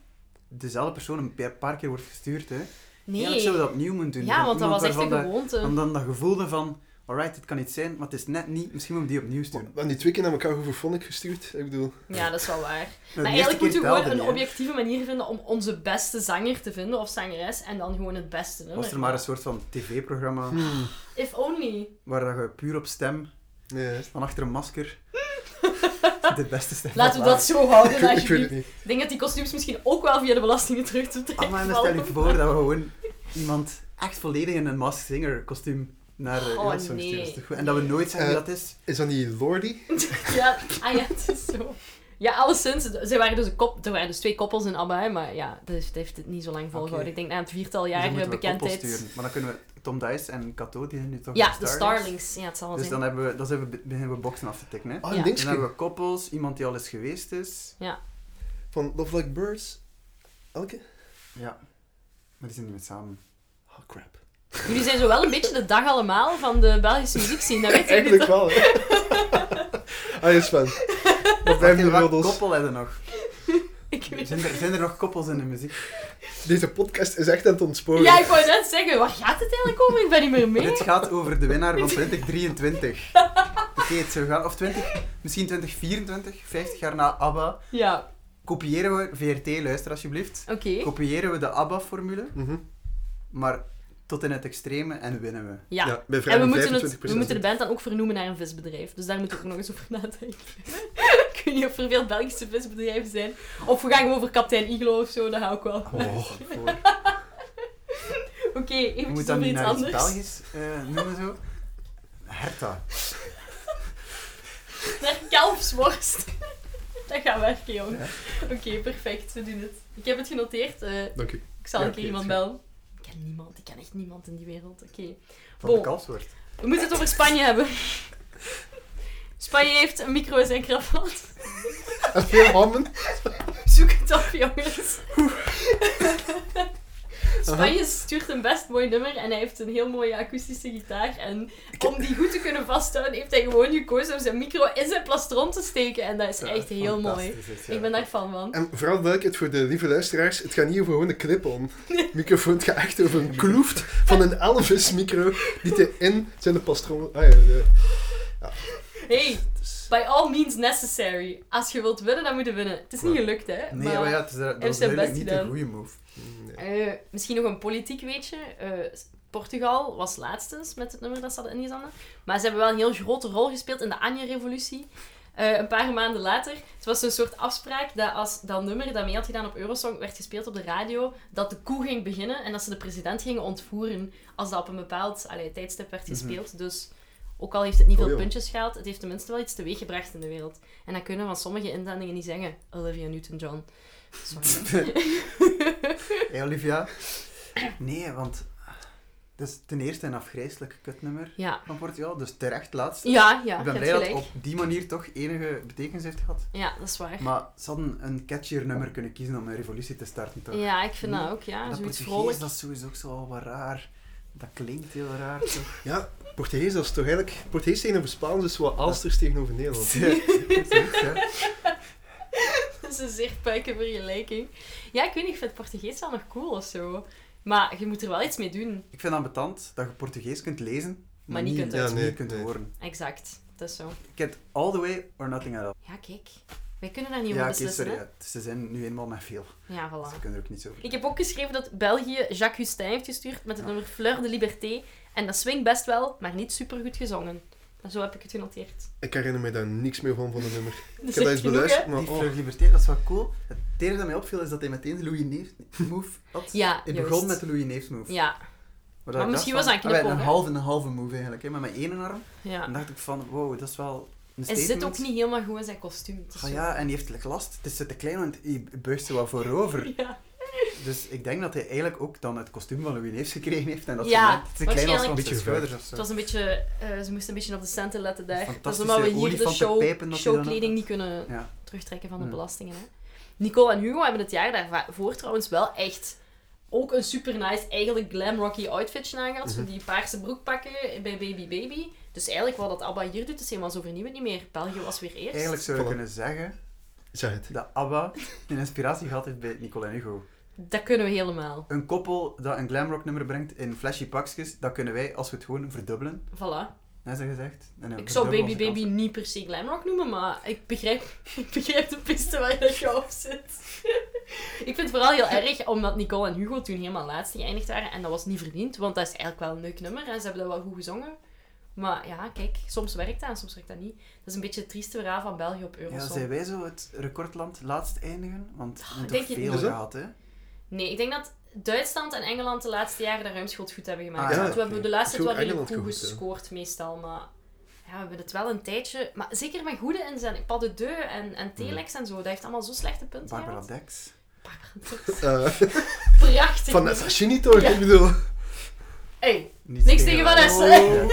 Speaker 3: dezelfde persoon een pa- paar keer wordt gestuurd. Hè. Eigenlijk
Speaker 1: Nee.
Speaker 3: zouden we dat opnieuw moeten doen.
Speaker 1: Ja, want dat was echt een
Speaker 3: een
Speaker 1: gewoonte.
Speaker 3: dan dat gevoelde van, alright, dit kan iets zijn, maar het is net niet. Misschien moeten we die opnieuw
Speaker 2: Maar,
Speaker 3: doen.
Speaker 2: maar die twee keer naar elkaar hoeveel vond ik gestuurd? Ik bedoel,
Speaker 1: Ja, dat is wel waar.
Speaker 3: De
Speaker 1: Maar
Speaker 3: eerste
Speaker 1: eigenlijk
Speaker 3: keer
Speaker 1: moeten we gewoon
Speaker 3: telde
Speaker 1: een
Speaker 3: niet, hè.
Speaker 1: objectieve manier vinden om onze beste zanger te vinden of zangeres en dan gewoon het beste nummer.
Speaker 3: Was er maar een soort van tv-programma
Speaker 1: Hmm. If only.
Speaker 3: waar dat je puur op stem,
Speaker 2: nee.
Speaker 3: van achter een masker, de beste stem
Speaker 1: Laten we
Speaker 3: van
Speaker 1: dat zo houden,
Speaker 2: Ik, weet- ik weet
Speaker 1: alsjeblieft.
Speaker 2: het niet.
Speaker 1: Ik denk dat die kostuums misschien ook wel via de belastingen terug te trekken
Speaker 3: Ah, maar dan stel
Speaker 1: vallen.
Speaker 3: je voor dat we gewoon iemand echt volledig in een Masked Singer kostuum naar eh, de
Speaker 1: Oh,
Speaker 3: Eurosong sturen.
Speaker 1: nee.
Speaker 3: Dat is toch goed? En dat we nooit zeggen wie
Speaker 2: Eh.
Speaker 3: dat is. dus
Speaker 2: Is dat niet Lordy?
Speaker 1: Ja, ah ja, het is zo. Ja, alleszins. Ze waren dus een kop, er waren dus twee koppels in ABBA, hè, maar ja, dat heeft, dat heeft het niet zo lang volgehouden.
Speaker 3: Oké.
Speaker 1: Ik denk na een viertal
Speaker 3: Dus dan
Speaker 1: jaar
Speaker 3: moeten we koppels
Speaker 1: bekendheid.
Speaker 3: sturen. Maar dan kunnen we Tom Dice en Kato, die zijn nu toch
Speaker 1: Ja, de
Speaker 3: Starlings.
Speaker 1: Starlings. Ja, het zal wel
Speaker 3: Dus
Speaker 1: zijn.
Speaker 3: dan, hebben we, dan zijn we, be- beginnen we boxen af te tikken. Hè.
Speaker 2: Ah, een
Speaker 1: Ja.
Speaker 3: Dan
Speaker 2: dingetje
Speaker 3: hebben we koppels, iemand die al eens geweest is.
Speaker 2: van Love Like Birds. Elke?
Speaker 3: Ja. Maar die zijn niet meer samen.
Speaker 2: Oh, crap.
Speaker 1: Jullie zijn zo wel een beetje de dag allemaal van de Belgische muziekscene, dat weet je niet.
Speaker 2: Eigenlijk
Speaker 1: toch?
Speaker 2: wel, hè? Ah, is Sven. Dat blijven
Speaker 3: Oké,
Speaker 2: de
Speaker 3: welk
Speaker 2: roddels.
Speaker 3: koppel hebben we nog?
Speaker 1: Ik weet
Speaker 3: Zijn
Speaker 1: het.
Speaker 3: er, zijn er nog koppels in de muziek?
Speaker 2: Deze podcast is echt aan het ontsporen.
Speaker 1: Ja, ik wou net zeggen, waar gaat het eigenlijk over? Ik ben niet meer mee.
Speaker 3: Dit gaat over de winnaar van 2023. Oké, het zou gaan. Of 20, misschien 2024, 50 jaar na ABBA.
Speaker 1: Ja,
Speaker 3: kopiëren we, VRT, luister alsjeblieft,
Speaker 1: Oké.
Speaker 3: kopiëren we de ABBA-formule,
Speaker 2: Mhm.
Speaker 3: maar tot in het extreme en winnen we.
Speaker 1: Ja.
Speaker 2: Ja, bij
Speaker 1: En we
Speaker 2: vrijwel
Speaker 1: moeten, het,
Speaker 2: 25%.
Speaker 1: we moeten de band dan ook vernoemen naar een visbedrijf. Dus daar moeten we ook nog eens over nadenken. Ik weet niet of er veel Belgische visbedrijven zijn. Of we gaan gewoon voor kapitein Iglo of zo, dat hou ik wel.
Speaker 2: Oh,
Speaker 1: Oké,
Speaker 3: Je
Speaker 1: eventjes
Speaker 3: moet
Speaker 1: over
Speaker 3: dat niet
Speaker 1: iets
Speaker 3: naar iets
Speaker 1: anders.
Speaker 3: Belgisch eh, noemen zo. Herta.
Speaker 1: Naar kalfsworst. dat gaat werken, jongen. Oké, perfect. We doen het. Ik heb het genoteerd. eh,
Speaker 2: dank u.
Speaker 1: ik zal
Speaker 2: Ja,
Speaker 1: een keer
Speaker 2: oké,
Speaker 1: iemand
Speaker 2: het gaat.
Speaker 1: bellen. Ik ken niemand. Ik ken echt niemand in die wereld. Oké.
Speaker 3: Van de
Speaker 1: Bon.
Speaker 3: kalfswoord.
Speaker 1: We moeten het over Spanje hebben. Spanje heeft een micro en zijn kravat.
Speaker 2: En veel handen.
Speaker 1: Zoek het op, jongens. Spanje stuurt een best mooi nummer en hij heeft een heel mooie akoestische gitaar. En om die goed te kunnen vasthouden, heeft hij gewoon gekozen om zijn micro in zijn plastron te steken. En dat is echt heel mooi.
Speaker 3: Fantastisch is, ja.
Speaker 1: Ik ben daar fan van.
Speaker 2: En vooral duidelijkheid voor de lieve luisteraars, het gaat niet over gewoon een clip-on microfoon, het gaat echt over een kloeft van een Elvis micro die hij in zijn pastron... Ah ja, de-
Speaker 1: Hey,
Speaker 3: Dus-
Speaker 1: by all means necessary. Als je wilt winnen, dan moet je winnen. Het is niet
Speaker 2: Ja.
Speaker 1: gelukt, hè?
Speaker 3: Nee, maar, ja, het is, eh, dat
Speaker 1: heeft
Speaker 3: is
Speaker 1: zijn
Speaker 3: duidelijk
Speaker 1: best
Speaker 3: niet
Speaker 1: gedaan.
Speaker 3: een goede move.
Speaker 2: nee.
Speaker 1: Eh, misschien nog een politiek weetje. Eh, Portugal was laatstens met het nummer dat ze hadden ingezanden. Maar ze hebben wel een heel grote rol gespeeld in de Anje-revolutie. Eh, een paar maanden later. Het was een soort afspraak dat als dat nummer dat mee had gedaan op Eurosong werd gespeeld op de radio, dat de koe ging beginnen en dat ze de president gingen ontvoeren als dat op een bepaald allee, tijdstip werd gespeeld. Dus ook al heeft het niet
Speaker 2: Mhm. Oh,
Speaker 1: veel
Speaker 2: joh.
Speaker 1: puntjes gehaald, het heeft tenminste wel iets teweeggebracht in de wereld. En dat kunnen van sommige inzendingen niet zeggen. Olivia Newton-John. Sorry.
Speaker 3: Hey Olivia? Nee, want eh, het is ten eerste een afgrijselijk kutnummer
Speaker 1: ja.
Speaker 3: van Portugal, dus terecht laatst.
Speaker 1: Ja, ja.
Speaker 3: ik
Speaker 1: je
Speaker 3: ben
Speaker 1: hebt
Speaker 3: blij dat
Speaker 1: gelijk.
Speaker 3: het op die manier toch enige betekenis heeft gehad.
Speaker 1: Ja, dat is waar.
Speaker 3: Maar ze hadden een catchier nummer kunnen kiezen om een revolutie te starten, toch?
Speaker 1: Ja, ik vind dat
Speaker 3: Nee.
Speaker 1: ook, ja.
Speaker 3: Hm. dat
Speaker 1: Zoiets
Speaker 3: Portugees,
Speaker 1: vrolijk.
Speaker 3: dat is sowieso ook zo wat raar. Dat klinkt heel raar, toch?
Speaker 2: Ja, Portugees, dat is toch eigenlijk... Portugees tegenover Spaans is wat Alsters tegenover Nederland.
Speaker 3: Zoiets, hè?
Speaker 1: Dat is een zeer puike vergelijking. Ja, ik weet niet, ik vind Portugees wel nog cool of zo. Maar je moet er wel iets mee doen.
Speaker 3: Ik vind het ambetant dat je Portugees kunt lezen, maar,
Speaker 1: niet kunt
Speaker 3: niet
Speaker 2: uitspreken.
Speaker 3: kunt
Speaker 2: Ja, nee,
Speaker 3: horen.
Speaker 1: Exact. Dat is zo.
Speaker 3: Ik heb all the way or nothing at all.
Speaker 1: Ja, kijk. Wij kunnen daar niet
Speaker 3: ja,
Speaker 1: over
Speaker 3: oké,
Speaker 1: beslissen,
Speaker 3: sorry. ja. Ze zijn nu eenmaal met veel.
Speaker 1: hè. Ja,
Speaker 3: Dus
Speaker 1: voilà.
Speaker 3: we kunnen er ook niets over
Speaker 1: Ik heb ook geschreven dat België Jacques Hustin heeft gestuurd met het nummer Fleur de Liberté. En dat swingt best wel, maar niet supergoed gezongen. En zo heb ik het genoteerd.
Speaker 2: Ik herinner me daar niks meer van, van het nummer.
Speaker 1: Dat
Speaker 2: Ik
Speaker 1: is
Speaker 2: heb
Speaker 1: echt
Speaker 2: dat eens
Speaker 1: genoeg, hè?
Speaker 2: beluisterd, maar...
Speaker 3: Die
Speaker 2: oh.
Speaker 3: Fleur Liberté, dat is wel cool. Het enige dat mij opviel is dat hij meteen de Louis Neef move had.
Speaker 1: Ja,
Speaker 3: Hij
Speaker 1: juist.
Speaker 3: begon met de Louis Neef move.
Speaker 1: Ja,
Speaker 3: Maar
Speaker 1: misschien was dat een
Speaker 3: Een,
Speaker 1: knipoog,
Speaker 3: een
Speaker 1: hè?
Speaker 3: halve en een halve move eigenlijk, hè, maar met één arm.
Speaker 1: ja.
Speaker 3: Dan dacht ik van, wow, dat is wel een
Speaker 1: Hij
Speaker 3: statement.
Speaker 1: zit ook niet helemaal goed in zijn kostuum. Het is
Speaker 3: Ah
Speaker 1: zo-
Speaker 3: ja, en die heeft like last. Het is te klein, want hij buigt ze wat voorover.
Speaker 1: Ja.
Speaker 3: Dus ik denk dat hij eigenlijk ook dan het kostuum van Louis Neefs gekregen heeft. En dat
Speaker 1: Ja,
Speaker 3: ze te klein was
Speaker 1: waarschijnlijk.
Speaker 3: van
Speaker 2: Beetje
Speaker 3: zijn schouders of zo.
Speaker 1: Het was een beetje, eh, ze moesten een beetje op de centen letten daar. Dat is
Speaker 3: Fantastische
Speaker 1: omdat we hier de
Speaker 3: olifantenpijpen dat hij
Speaker 1: show,
Speaker 3: dan
Speaker 1: showkleding
Speaker 3: had.
Speaker 1: niet kunnen
Speaker 3: Ja.
Speaker 1: terugtrekken van de
Speaker 3: Ja.
Speaker 1: belastingen. Hè? Nicole en Hugo hebben het jaar daarvoor trouwens wel echt ook een super nice, eigenlijk glam rocky outfitje aangehad.
Speaker 3: Mhm.
Speaker 1: Zo die paarse broekpakken bij Baby Baby. Dus eigenlijk wat dat ABBA hier doet, is helemaal zo vernieuwend niet meer. België was weer eerst.
Speaker 3: Eigenlijk zou je
Speaker 2: Voilà.
Speaker 3: kunnen zeggen
Speaker 2: Zeg het.
Speaker 3: dat ABBA een inspiratie gehad heeft bij Nicole en Hugo.
Speaker 1: Dat kunnen we helemaal.
Speaker 3: Een koppel dat een glamrock nummer brengt in flashy pakjes, dat kunnen wij, als we het gewoon verdubbelen,
Speaker 1: Voilà.
Speaker 3: hè, ze gezegd. En dan
Speaker 1: Ik zou
Speaker 3: verdubbelen
Speaker 1: Baby
Speaker 3: onze
Speaker 1: Baby niet per se glamrock noemen, maar ik begrijp, ik begrijp de piste waar dat je op zit. ik vind het vooral heel erg, omdat Nicole en Hugo toen helemaal laatst geëindigd waren. En dat was niet verdiend, want dat is eigenlijk wel een leuk nummer. En ze hebben dat wel goed gezongen. Maar ja, kijk, soms werkt dat en soms werkt dat niet. Dat is een beetje het trieste verhaal van België op
Speaker 3: kansen. Ja,
Speaker 1: Eurosong.
Speaker 3: zijn wij zo het recordland laatst eindigen? Want we hebben
Speaker 1: Ah, denk
Speaker 3: toch
Speaker 1: je-
Speaker 3: veel
Speaker 2: Is dat?
Speaker 3: gehad, hè?
Speaker 1: Nee, ik denk dat Duitsland en Engeland de laatste jaren de ruimschuld goed hebben gemaakt.
Speaker 3: Ah, ja,
Speaker 1: Want we
Speaker 3: oké.
Speaker 1: hebben de laatste
Speaker 2: Is
Speaker 1: tijd
Speaker 2: ook
Speaker 1: wel redelijk goed
Speaker 2: Engeland goed, hè?
Speaker 1: gescoord meestal, maar... Ja, we hebben het wel een tijdje... Maar zeker met goede inzendingen. Pas de Deux en, en Telex en zo. Dat heeft allemaal zo slechte punten
Speaker 3: Barbara
Speaker 1: gehad.
Speaker 3: Dex.
Speaker 2: Eh,
Speaker 1: Prachtig.
Speaker 2: van
Speaker 1: nummer.
Speaker 2: Assassinito, toch?
Speaker 1: Ja.
Speaker 2: ik bedoel.
Speaker 1: Hey,
Speaker 3: Niets
Speaker 1: Niks tegen Vanessa.
Speaker 3: Oh.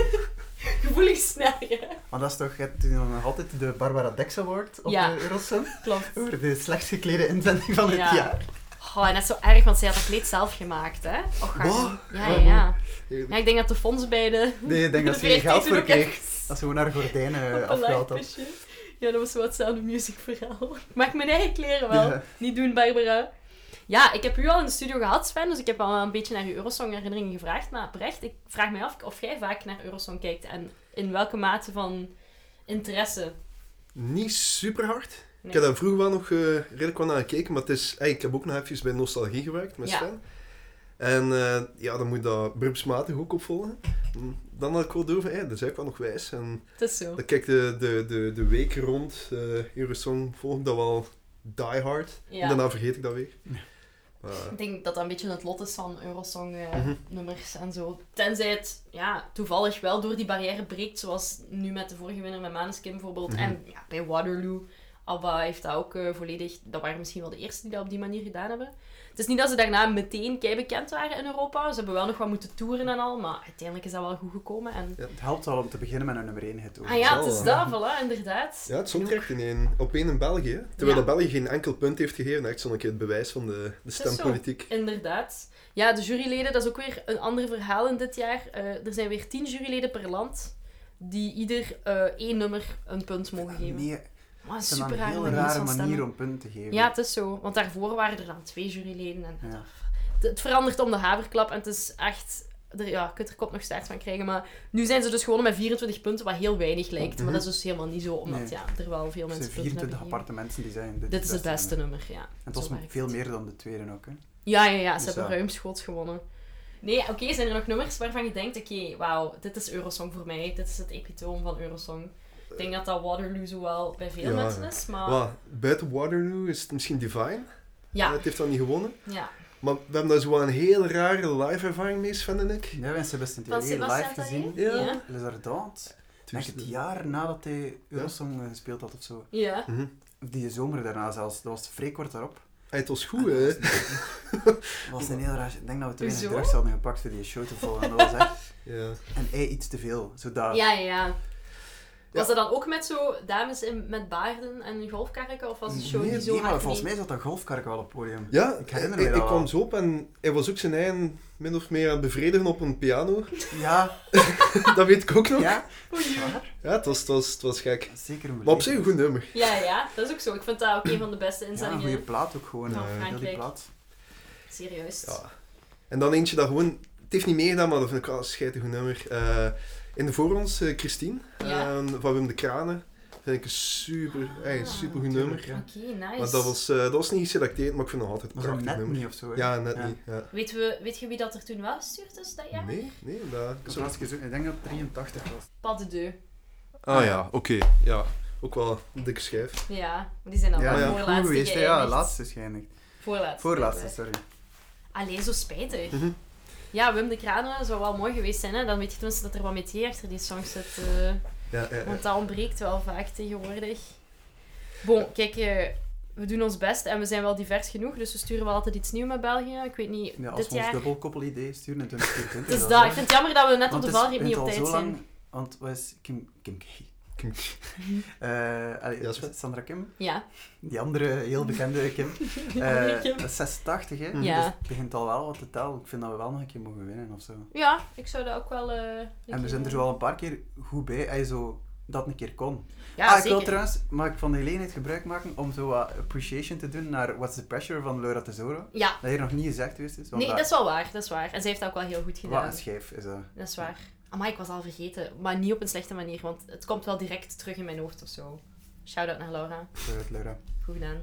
Speaker 1: gevoelig snijden.
Speaker 3: Maar dat is toch, je hebt toen nog altijd de Barbara Dex Award op
Speaker 1: Ja.
Speaker 3: de Eurosong?
Speaker 1: Klopt.
Speaker 3: Voor de slechtst geklede inzending van het
Speaker 1: Ja.
Speaker 3: jaar.
Speaker 1: Oh, en dat is zo erg, want zij had dat kleed zelf gemaakt, hè? Och, ga-
Speaker 2: Wat?
Speaker 1: Ja, ja, ja. Ja,
Speaker 2: Eerlijk.
Speaker 1: ik denk dat de fonds bij de...
Speaker 3: Nee, ik denk dat ze
Speaker 1: de
Speaker 3: geen geld
Speaker 1: VRT
Speaker 3: voor
Speaker 1: ook
Speaker 3: kreeg.
Speaker 1: ergens
Speaker 3: Dat ze gewoon haar gordijnen
Speaker 1: op een
Speaker 3: eh, afgehaald had.
Speaker 1: lightbusje. Ja, dat was wel hetzelfde muziekverhaal. Ik maak mijn eigen kleren wel.
Speaker 3: Ja.
Speaker 1: Niet doen, Barbara. Ja, ik heb u al in de studio gehad, Sven, dus ik heb al een beetje naar uw Eurosong-herinneringen gevraagd. Maar oprecht, ik vraag mij af of jij vaak naar Eurosong kijkt en in welke mate van interesse.
Speaker 2: Niet super hard.
Speaker 1: Nee.
Speaker 2: Ik heb daar vroeger wel nog eh, redelijk wat naar gekeken, maar het is, hey, ik heb ook nog even bij Nostalgie gewerkt met
Speaker 1: Ja.
Speaker 2: Sven. En eh, ja, dan moet je dat beroepsmatig ook opvolgen. Mm, Dan had ik wel door van, hey, dat is eigenlijk wel nog wijs. En
Speaker 1: Het is zo.
Speaker 2: dan kijk de, de, de, de week rond, eh Eurosong, volg ik dat wel die hard.
Speaker 1: Ja.
Speaker 2: En daarna vergeet ik dat weer. Maar,
Speaker 1: Ik denk dat dat een beetje het lot is van
Speaker 2: Mhm.
Speaker 1: Eurosong-nummers en zo. Tenzij het ja, toevallig wel door die barrière breekt, zoals nu met de vorige winnaar met Maneskin bijvoorbeeld.
Speaker 2: Mhm.
Speaker 1: En ja, bij Waterloo, ABBA heeft dat ook eh, volledig... Dat waren misschien wel de eerste die dat op die manier gedaan hebben. Het is niet dat ze daarna meteen kei bekend waren in Europa. Ze hebben wel nog wat moeten toeren en al, maar uiteindelijk is dat wel goed gekomen. En...
Speaker 3: Het helpt al om te beginnen met een nummer 1 hit. ook.
Speaker 1: Ah ja, het is
Speaker 2: Zo.
Speaker 1: dat, voilà, inderdaad.
Speaker 2: ja, het stond er echt in één, op één in België. hè. Terwijl
Speaker 1: Ja.
Speaker 2: dat België geen enkel punt heeft gegeven, echt zo'n keer het bewijs van de, de
Speaker 1: zo.
Speaker 2: stempolitiek.
Speaker 1: Inderdaad. Ja, de juryleden, dat is ook weer een ander verhaal in dit jaar. Eh, er zijn weer tien juryleden per land die ieder eh, één nummer een punt mogen geven.
Speaker 3: Nee,
Speaker 1: Maar een
Speaker 3: het is een
Speaker 1: super rare
Speaker 3: heel
Speaker 1: manier van
Speaker 3: rare
Speaker 1: stemmen.
Speaker 3: manier om punten te geven.
Speaker 1: Ja, het is zo. Want daarvoor waren er dan twee juryleden. En
Speaker 3: Ja.
Speaker 1: Het- Het verandert om de haverklap en het is echt... Er, ja, ik kunt er kop nog staart van krijgen, maar nu zijn ze dus gewoon met 24 punten, wat heel weinig lijkt. Maar dat is dus helemaal niet zo, omdat
Speaker 3: Nee.
Speaker 1: ja, er wel veel mensen
Speaker 3: Er zijn
Speaker 1: punten hebben
Speaker 3: 24
Speaker 1: gegeven.
Speaker 3: aparte mensen die zijn.
Speaker 1: Dit is het beste nummer, ja.
Speaker 3: En het
Speaker 1: Zo
Speaker 3: was
Speaker 1: werkt
Speaker 3: veel
Speaker 1: het.
Speaker 3: meer dan de tweede ook. Hè.
Speaker 1: Ja, ja, ja. Ze
Speaker 3: Dus
Speaker 1: hebben
Speaker 3: ja.
Speaker 1: ruimschoots gewonnen. Nee, oké, zijn er nog nummers waarvan je denkt, oké, wauw, dit is Eurosong voor mij. Dit is het epitoom van Eurosong. Ik denk dat dat Waterloo zowel bij veel
Speaker 2: Ja,
Speaker 1: mensen
Speaker 2: ja.
Speaker 1: is, maar...
Speaker 2: Wat, buiten Waterloo is het misschien Divine.
Speaker 1: Ja,
Speaker 2: Het heeft dan niet gewonnen.
Speaker 1: ja.
Speaker 2: Maar we hebben daar zo wel een heel rare live ervaring mee, Sven en ik.
Speaker 3: Ja, mensen hebben het
Speaker 1: Van
Speaker 3: live
Speaker 1: Sebastian
Speaker 3: gezien.
Speaker 1: Tellier? Ja.
Speaker 3: Ja. Les Ardentes.
Speaker 2: Dus,
Speaker 3: Denk het jaar nadat hij Eurosong eh, gespeeld had of zo.
Speaker 1: Ja.
Speaker 2: Mhm.
Speaker 3: Of die zomer daarna zelfs. Dat was vrij kort daarop.
Speaker 2: Hey, eh, het was
Speaker 3: Ah,
Speaker 2: goed, hè?
Speaker 3: Dat was een heel raar... Ik denk dat we te weinig
Speaker 1: Hoezo?
Speaker 3: drugs hadden gepakt voor die show te volgen. Dat was echt...
Speaker 2: Ja.
Speaker 3: En hij iets te veel. Zodat...
Speaker 1: Ja, ja, ja. Was dat dan ook met zo dames in, met baarden en golfkarren? Of was het show
Speaker 3: Nee,
Speaker 1: die zo
Speaker 3: nee, maar
Speaker 1: hard
Speaker 3: volgens
Speaker 1: mee-
Speaker 3: mij zat dat golfkark wel op het podium.
Speaker 2: Ja,
Speaker 3: Ik herinner
Speaker 2: ik,
Speaker 3: me
Speaker 2: ik
Speaker 3: dat
Speaker 2: kwam
Speaker 3: wel.
Speaker 2: zo op en hij was ook zijn eigen min of meer aan het bevredigen op een piano.
Speaker 3: Ja,
Speaker 2: dat weet ik ook nog. Ja,
Speaker 3: ja. Waar?
Speaker 2: het, was, het, was, het was gek.
Speaker 3: Zeker een
Speaker 2: Maar op
Speaker 3: beleving.
Speaker 2: zich een goed nummer.
Speaker 1: Ja, ja. Dat is ook zo. Ik vind dat ook een van de beste
Speaker 3: Ja, een
Speaker 1: inzendingen.
Speaker 3: goede plaat ook gewoon.
Speaker 1: Van
Speaker 3: eh, heel die
Speaker 1: Frankrijk.
Speaker 3: plaat.
Speaker 1: Serieus.
Speaker 2: Ja. En dan eentje dat gewoon... Het heeft niet meegedaan, maar dat vind ik wel een scheidig goed nummer. Eh, in de voor ons, eh, Christine,
Speaker 1: Ja.
Speaker 2: eh, van Wim de Kranen. Vind ik een super, hey, een super goed nummer.
Speaker 3: Ja.
Speaker 1: Oké, nice.
Speaker 2: Maar dat was, eh, dat was niet geselecteerd, maar ik vind het nog altijd een
Speaker 3: Was dat
Speaker 2: prachtig
Speaker 3: net
Speaker 2: nummer.
Speaker 3: niet of zo? hè?
Speaker 2: Ja, net
Speaker 3: Ja.
Speaker 2: niet. Ja.
Speaker 1: Weet, we, weet je wie dat er toen wel gestuurd is dat jaar?
Speaker 2: Nee, nee, dat...
Speaker 3: Ik, was laatst gezocht- ik denk dat het 83 was.
Speaker 1: Pas de deux.
Speaker 2: Ah ja, oké. Ja, ook wel een dikke schijf.
Speaker 1: Ja, die zijn dan
Speaker 3: Ja,
Speaker 1: wel
Speaker 3: ja, goed
Speaker 1: voorlaatste
Speaker 3: geweest. hè. Ja,
Speaker 1: geëindigd.
Speaker 3: laatste is geëindigd.
Speaker 1: Voorlaatste.
Speaker 3: Voorlaatste, sorry.
Speaker 1: Allee, zo spijtig.
Speaker 2: Mhm.
Speaker 1: Ja, Wim de Kranen zou wel mooi geweest zijn. Hè? Dan weet je tenminste dat er wat metier achter die songs zit. eh,
Speaker 2: Ja, ja, ja.
Speaker 1: want dat ontbreekt wel vaak tegenwoordig. Bon, kijk, eh, we doen ons best en we zijn wel divers genoeg. Dus we sturen wel altijd iets nieuws met België. Ik weet niet,
Speaker 3: Ja, als
Speaker 1: dit
Speaker 3: we ons
Speaker 1: jaar...
Speaker 3: dubbelkoppelidee sturen in 2020.
Speaker 1: Het is
Speaker 3: dan
Speaker 1: dat.
Speaker 3: zo.
Speaker 1: Ik vind het jammer dat we net op
Speaker 3: Want
Speaker 1: de
Speaker 3: het is-
Speaker 1: valreep niet
Speaker 3: het
Speaker 1: op
Speaker 3: al
Speaker 1: tijd
Speaker 3: zo
Speaker 1: zijn.
Speaker 3: lang- Want wat is Kim... Kim K.
Speaker 2: Kim
Speaker 3: Eh, allee,
Speaker 2: Ja, Sven.
Speaker 3: Sandra Kim.
Speaker 1: Ja,
Speaker 3: Die andere heel bekende Kim.
Speaker 1: andere
Speaker 3: Eh,
Speaker 1: Kim.
Speaker 3: dat is 86, hè?
Speaker 1: Ja.
Speaker 3: Dus het begint al wel wat te tellen. Ik vind dat we wel nog een keer mogen winnen of zo.
Speaker 1: ja, ik zou dat ook wel... eh, een
Speaker 3: En we
Speaker 1: keer
Speaker 3: zijn er
Speaker 1: doen.
Speaker 3: zo al een paar keer goed bij. Als je zo dat een keer kon.
Speaker 1: Ja,
Speaker 3: ah, ik
Speaker 1: zeker.
Speaker 3: wil trouwens, mag ik van de gelegenheid gebruik maken om zo wat appreciation te doen naar What's the Pressure van Laura Tesoro?
Speaker 1: Ja,
Speaker 3: Dat hier nog niet gezegd geweest is. want
Speaker 1: nee, dat is wel waar. Dat is waar. En zij heeft dat ook wel heel goed
Speaker 3: Wat
Speaker 1: gedaan.
Speaker 3: een schijf is dat.
Speaker 1: Dat is waar. Maar ik was al vergeten. Maar niet op een slechte manier, want het komt wel direct terug in mijn hoofd of zo. Shout-out naar Laura.
Speaker 3: Shout-out Laura.
Speaker 1: Goed gedaan.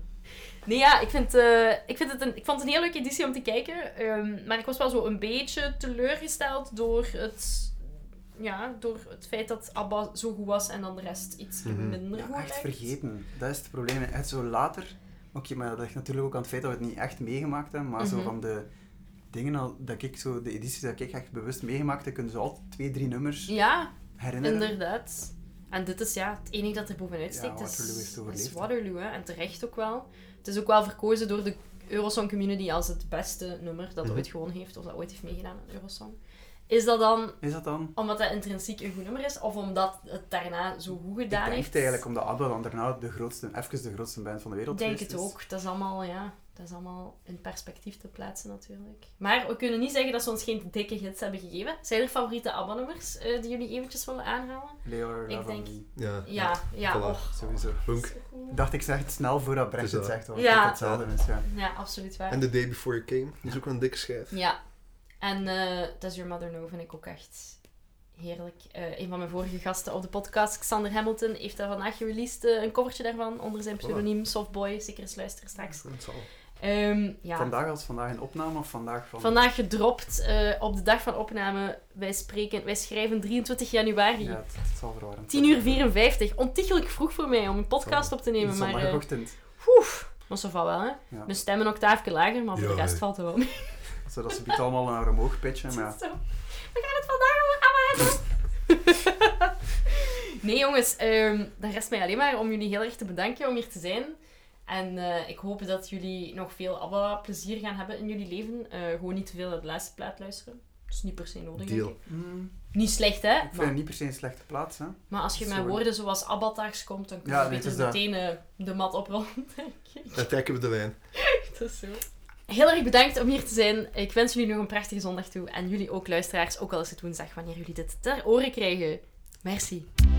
Speaker 1: Nee, ja, ik, vind, eh, ik, vind het een, ik vond het een heel leuke editie om te kijken. ehm, maar ik was wel zo een beetje teleurgesteld door het, ja, door het feit dat Abba zo goed was en dan de rest iets
Speaker 2: Mhm.
Speaker 1: minder goed
Speaker 3: Ja, echt
Speaker 1: lijkt.
Speaker 3: vergeten. Dat is het probleem. Echt zo later. Oké, maar dat ligt natuurlijk ook aan het feit dat we het niet echt meegemaakt hebben. Maar
Speaker 1: Mhm.
Speaker 3: zo van de dingen al, dat ik zo, de edities dat ik echt bewust meegemaakt heb, kunnen ze altijd twee, drie nummers
Speaker 1: Ja,
Speaker 3: herinneren.
Speaker 1: inderdaad. En dit is ja, het enige dat er bovenuit
Speaker 3: Ja,
Speaker 1: steekt. is,
Speaker 3: Waterloo heeft overleefd,
Speaker 1: is
Speaker 3: hè.
Speaker 1: Waterloo, hè. En terecht ook wel. Het is ook wel verkozen door de Eurosong Community als het beste nummer dat
Speaker 2: Mhm.
Speaker 1: ooit gewonnen heeft. Of dat ooit heeft meegedaan aan Eurosong. Is dat dan
Speaker 3: Is dat dan?
Speaker 1: omdat dat intrinsiek een goed nummer is? Of omdat het daarna zo goed
Speaker 3: Ik
Speaker 1: gedaan
Speaker 3: denk
Speaker 1: heeft?
Speaker 3: het eigenlijk omdat ABBA dan daarna de grootste, even de grootste band van de wereld
Speaker 1: Ik denk
Speaker 3: geweest
Speaker 1: het
Speaker 3: is.
Speaker 1: ook. Dat is allemaal, ja, dat is allemaal in perspectief te plaatsen natuurlijk. Maar we kunnen niet zeggen dat ze ons geen dikke hits hebben gegeven. Zijn er favoriete ABBA-nummers eh, die jullie eventjes willen aanhalen?
Speaker 3: Laura
Speaker 1: Ik
Speaker 3: van
Speaker 1: denk-
Speaker 3: die-
Speaker 2: Ja,
Speaker 1: Ja, ja.
Speaker 2: Voilà.
Speaker 1: och,
Speaker 3: Sowieso.
Speaker 2: Punk.
Speaker 3: Dacht ik zeg het snel voordat Brecht
Speaker 2: Het
Speaker 3: het
Speaker 2: is dat.
Speaker 3: zegt, want
Speaker 1: Ja.
Speaker 3: ja. hetzelfde is. Ja.
Speaker 1: Ja, absoluut waar.
Speaker 2: En The Day Before You Came, dat is ook wel een dikke schijf.
Speaker 1: Ja. En eh Does Your Mother Know vind ik ook echt heerlijk. Eh, een van mijn vorige gasten op de podcast, Xander Hamilton, heeft daar vandaag gereleased eh, een covertje daarvan onder zijn pseudoniem Softboy. Zeker eens luisteren straks.
Speaker 2: Dat zal.
Speaker 1: Ehm, ja.
Speaker 3: Vandaag als vandaag een opname of vandaag van...
Speaker 1: Vandaag gedropt eh, op de dag van opname. Wij, spreken, wij schrijven 23 januari.
Speaker 3: Ja, het, het zal verwarrend
Speaker 1: 10 uur 54. Ontiegelijk vroeg voor mij om een podcast op te
Speaker 3: zijn.
Speaker 1: nemen. Maar, eh,
Speaker 3: Zondagochtend.
Speaker 1: oef, maar zo van wel, hè?
Speaker 3: Ja.
Speaker 1: Mijn stem een octaafje lager, maar voor
Speaker 2: Ja,
Speaker 1: de rest
Speaker 2: hè.
Speaker 1: valt het wel mee.
Speaker 3: Zodat ze het allemaal naar omhoog pitchen. Maar ja,
Speaker 1: Zo. We gaan het vandaag over ABBA hebben. nee, jongens. ehm dan rest mij alleen maar om jullie heel erg te bedanken om hier te zijn. En eh, ik hoop dat jullie nog veel ABBA-plezier gaan hebben in jullie leven. Eh, gewoon niet te veel naar de laatste plaat luisteren. Dat is niet per se nodig,
Speaker 2: Deal.
Speaker 1: denk ik.
Speaker 3: mm,
Speaker 1: Niet slecht, hè?
Speaker 3: ik vind
Speaker 1: maar-
Speaker 3: het niet per se een slechte plaats. Hè.
Speaker 1: Maar als je met
Speaker 3: Sorry.
Speaker 1: woorden zoals abatars komt, dan kun je
Speaker 3: Ja, nee,
Speaker 1: beter
Speaker 3: het is dat.
Speaker 1: meteen eh, de mat oprollen, denk ik.
Speaker 2: Dan trekken we de lijn.
Speaker 1: Dat is zo. Heel erg bedankt om hier te zijn. Ik wens jullie nog een prachtige zondag toe. En jullie ook, luisteraars, ook al is het woensdag wanneer jullie dit ter oren krijgen. Merci.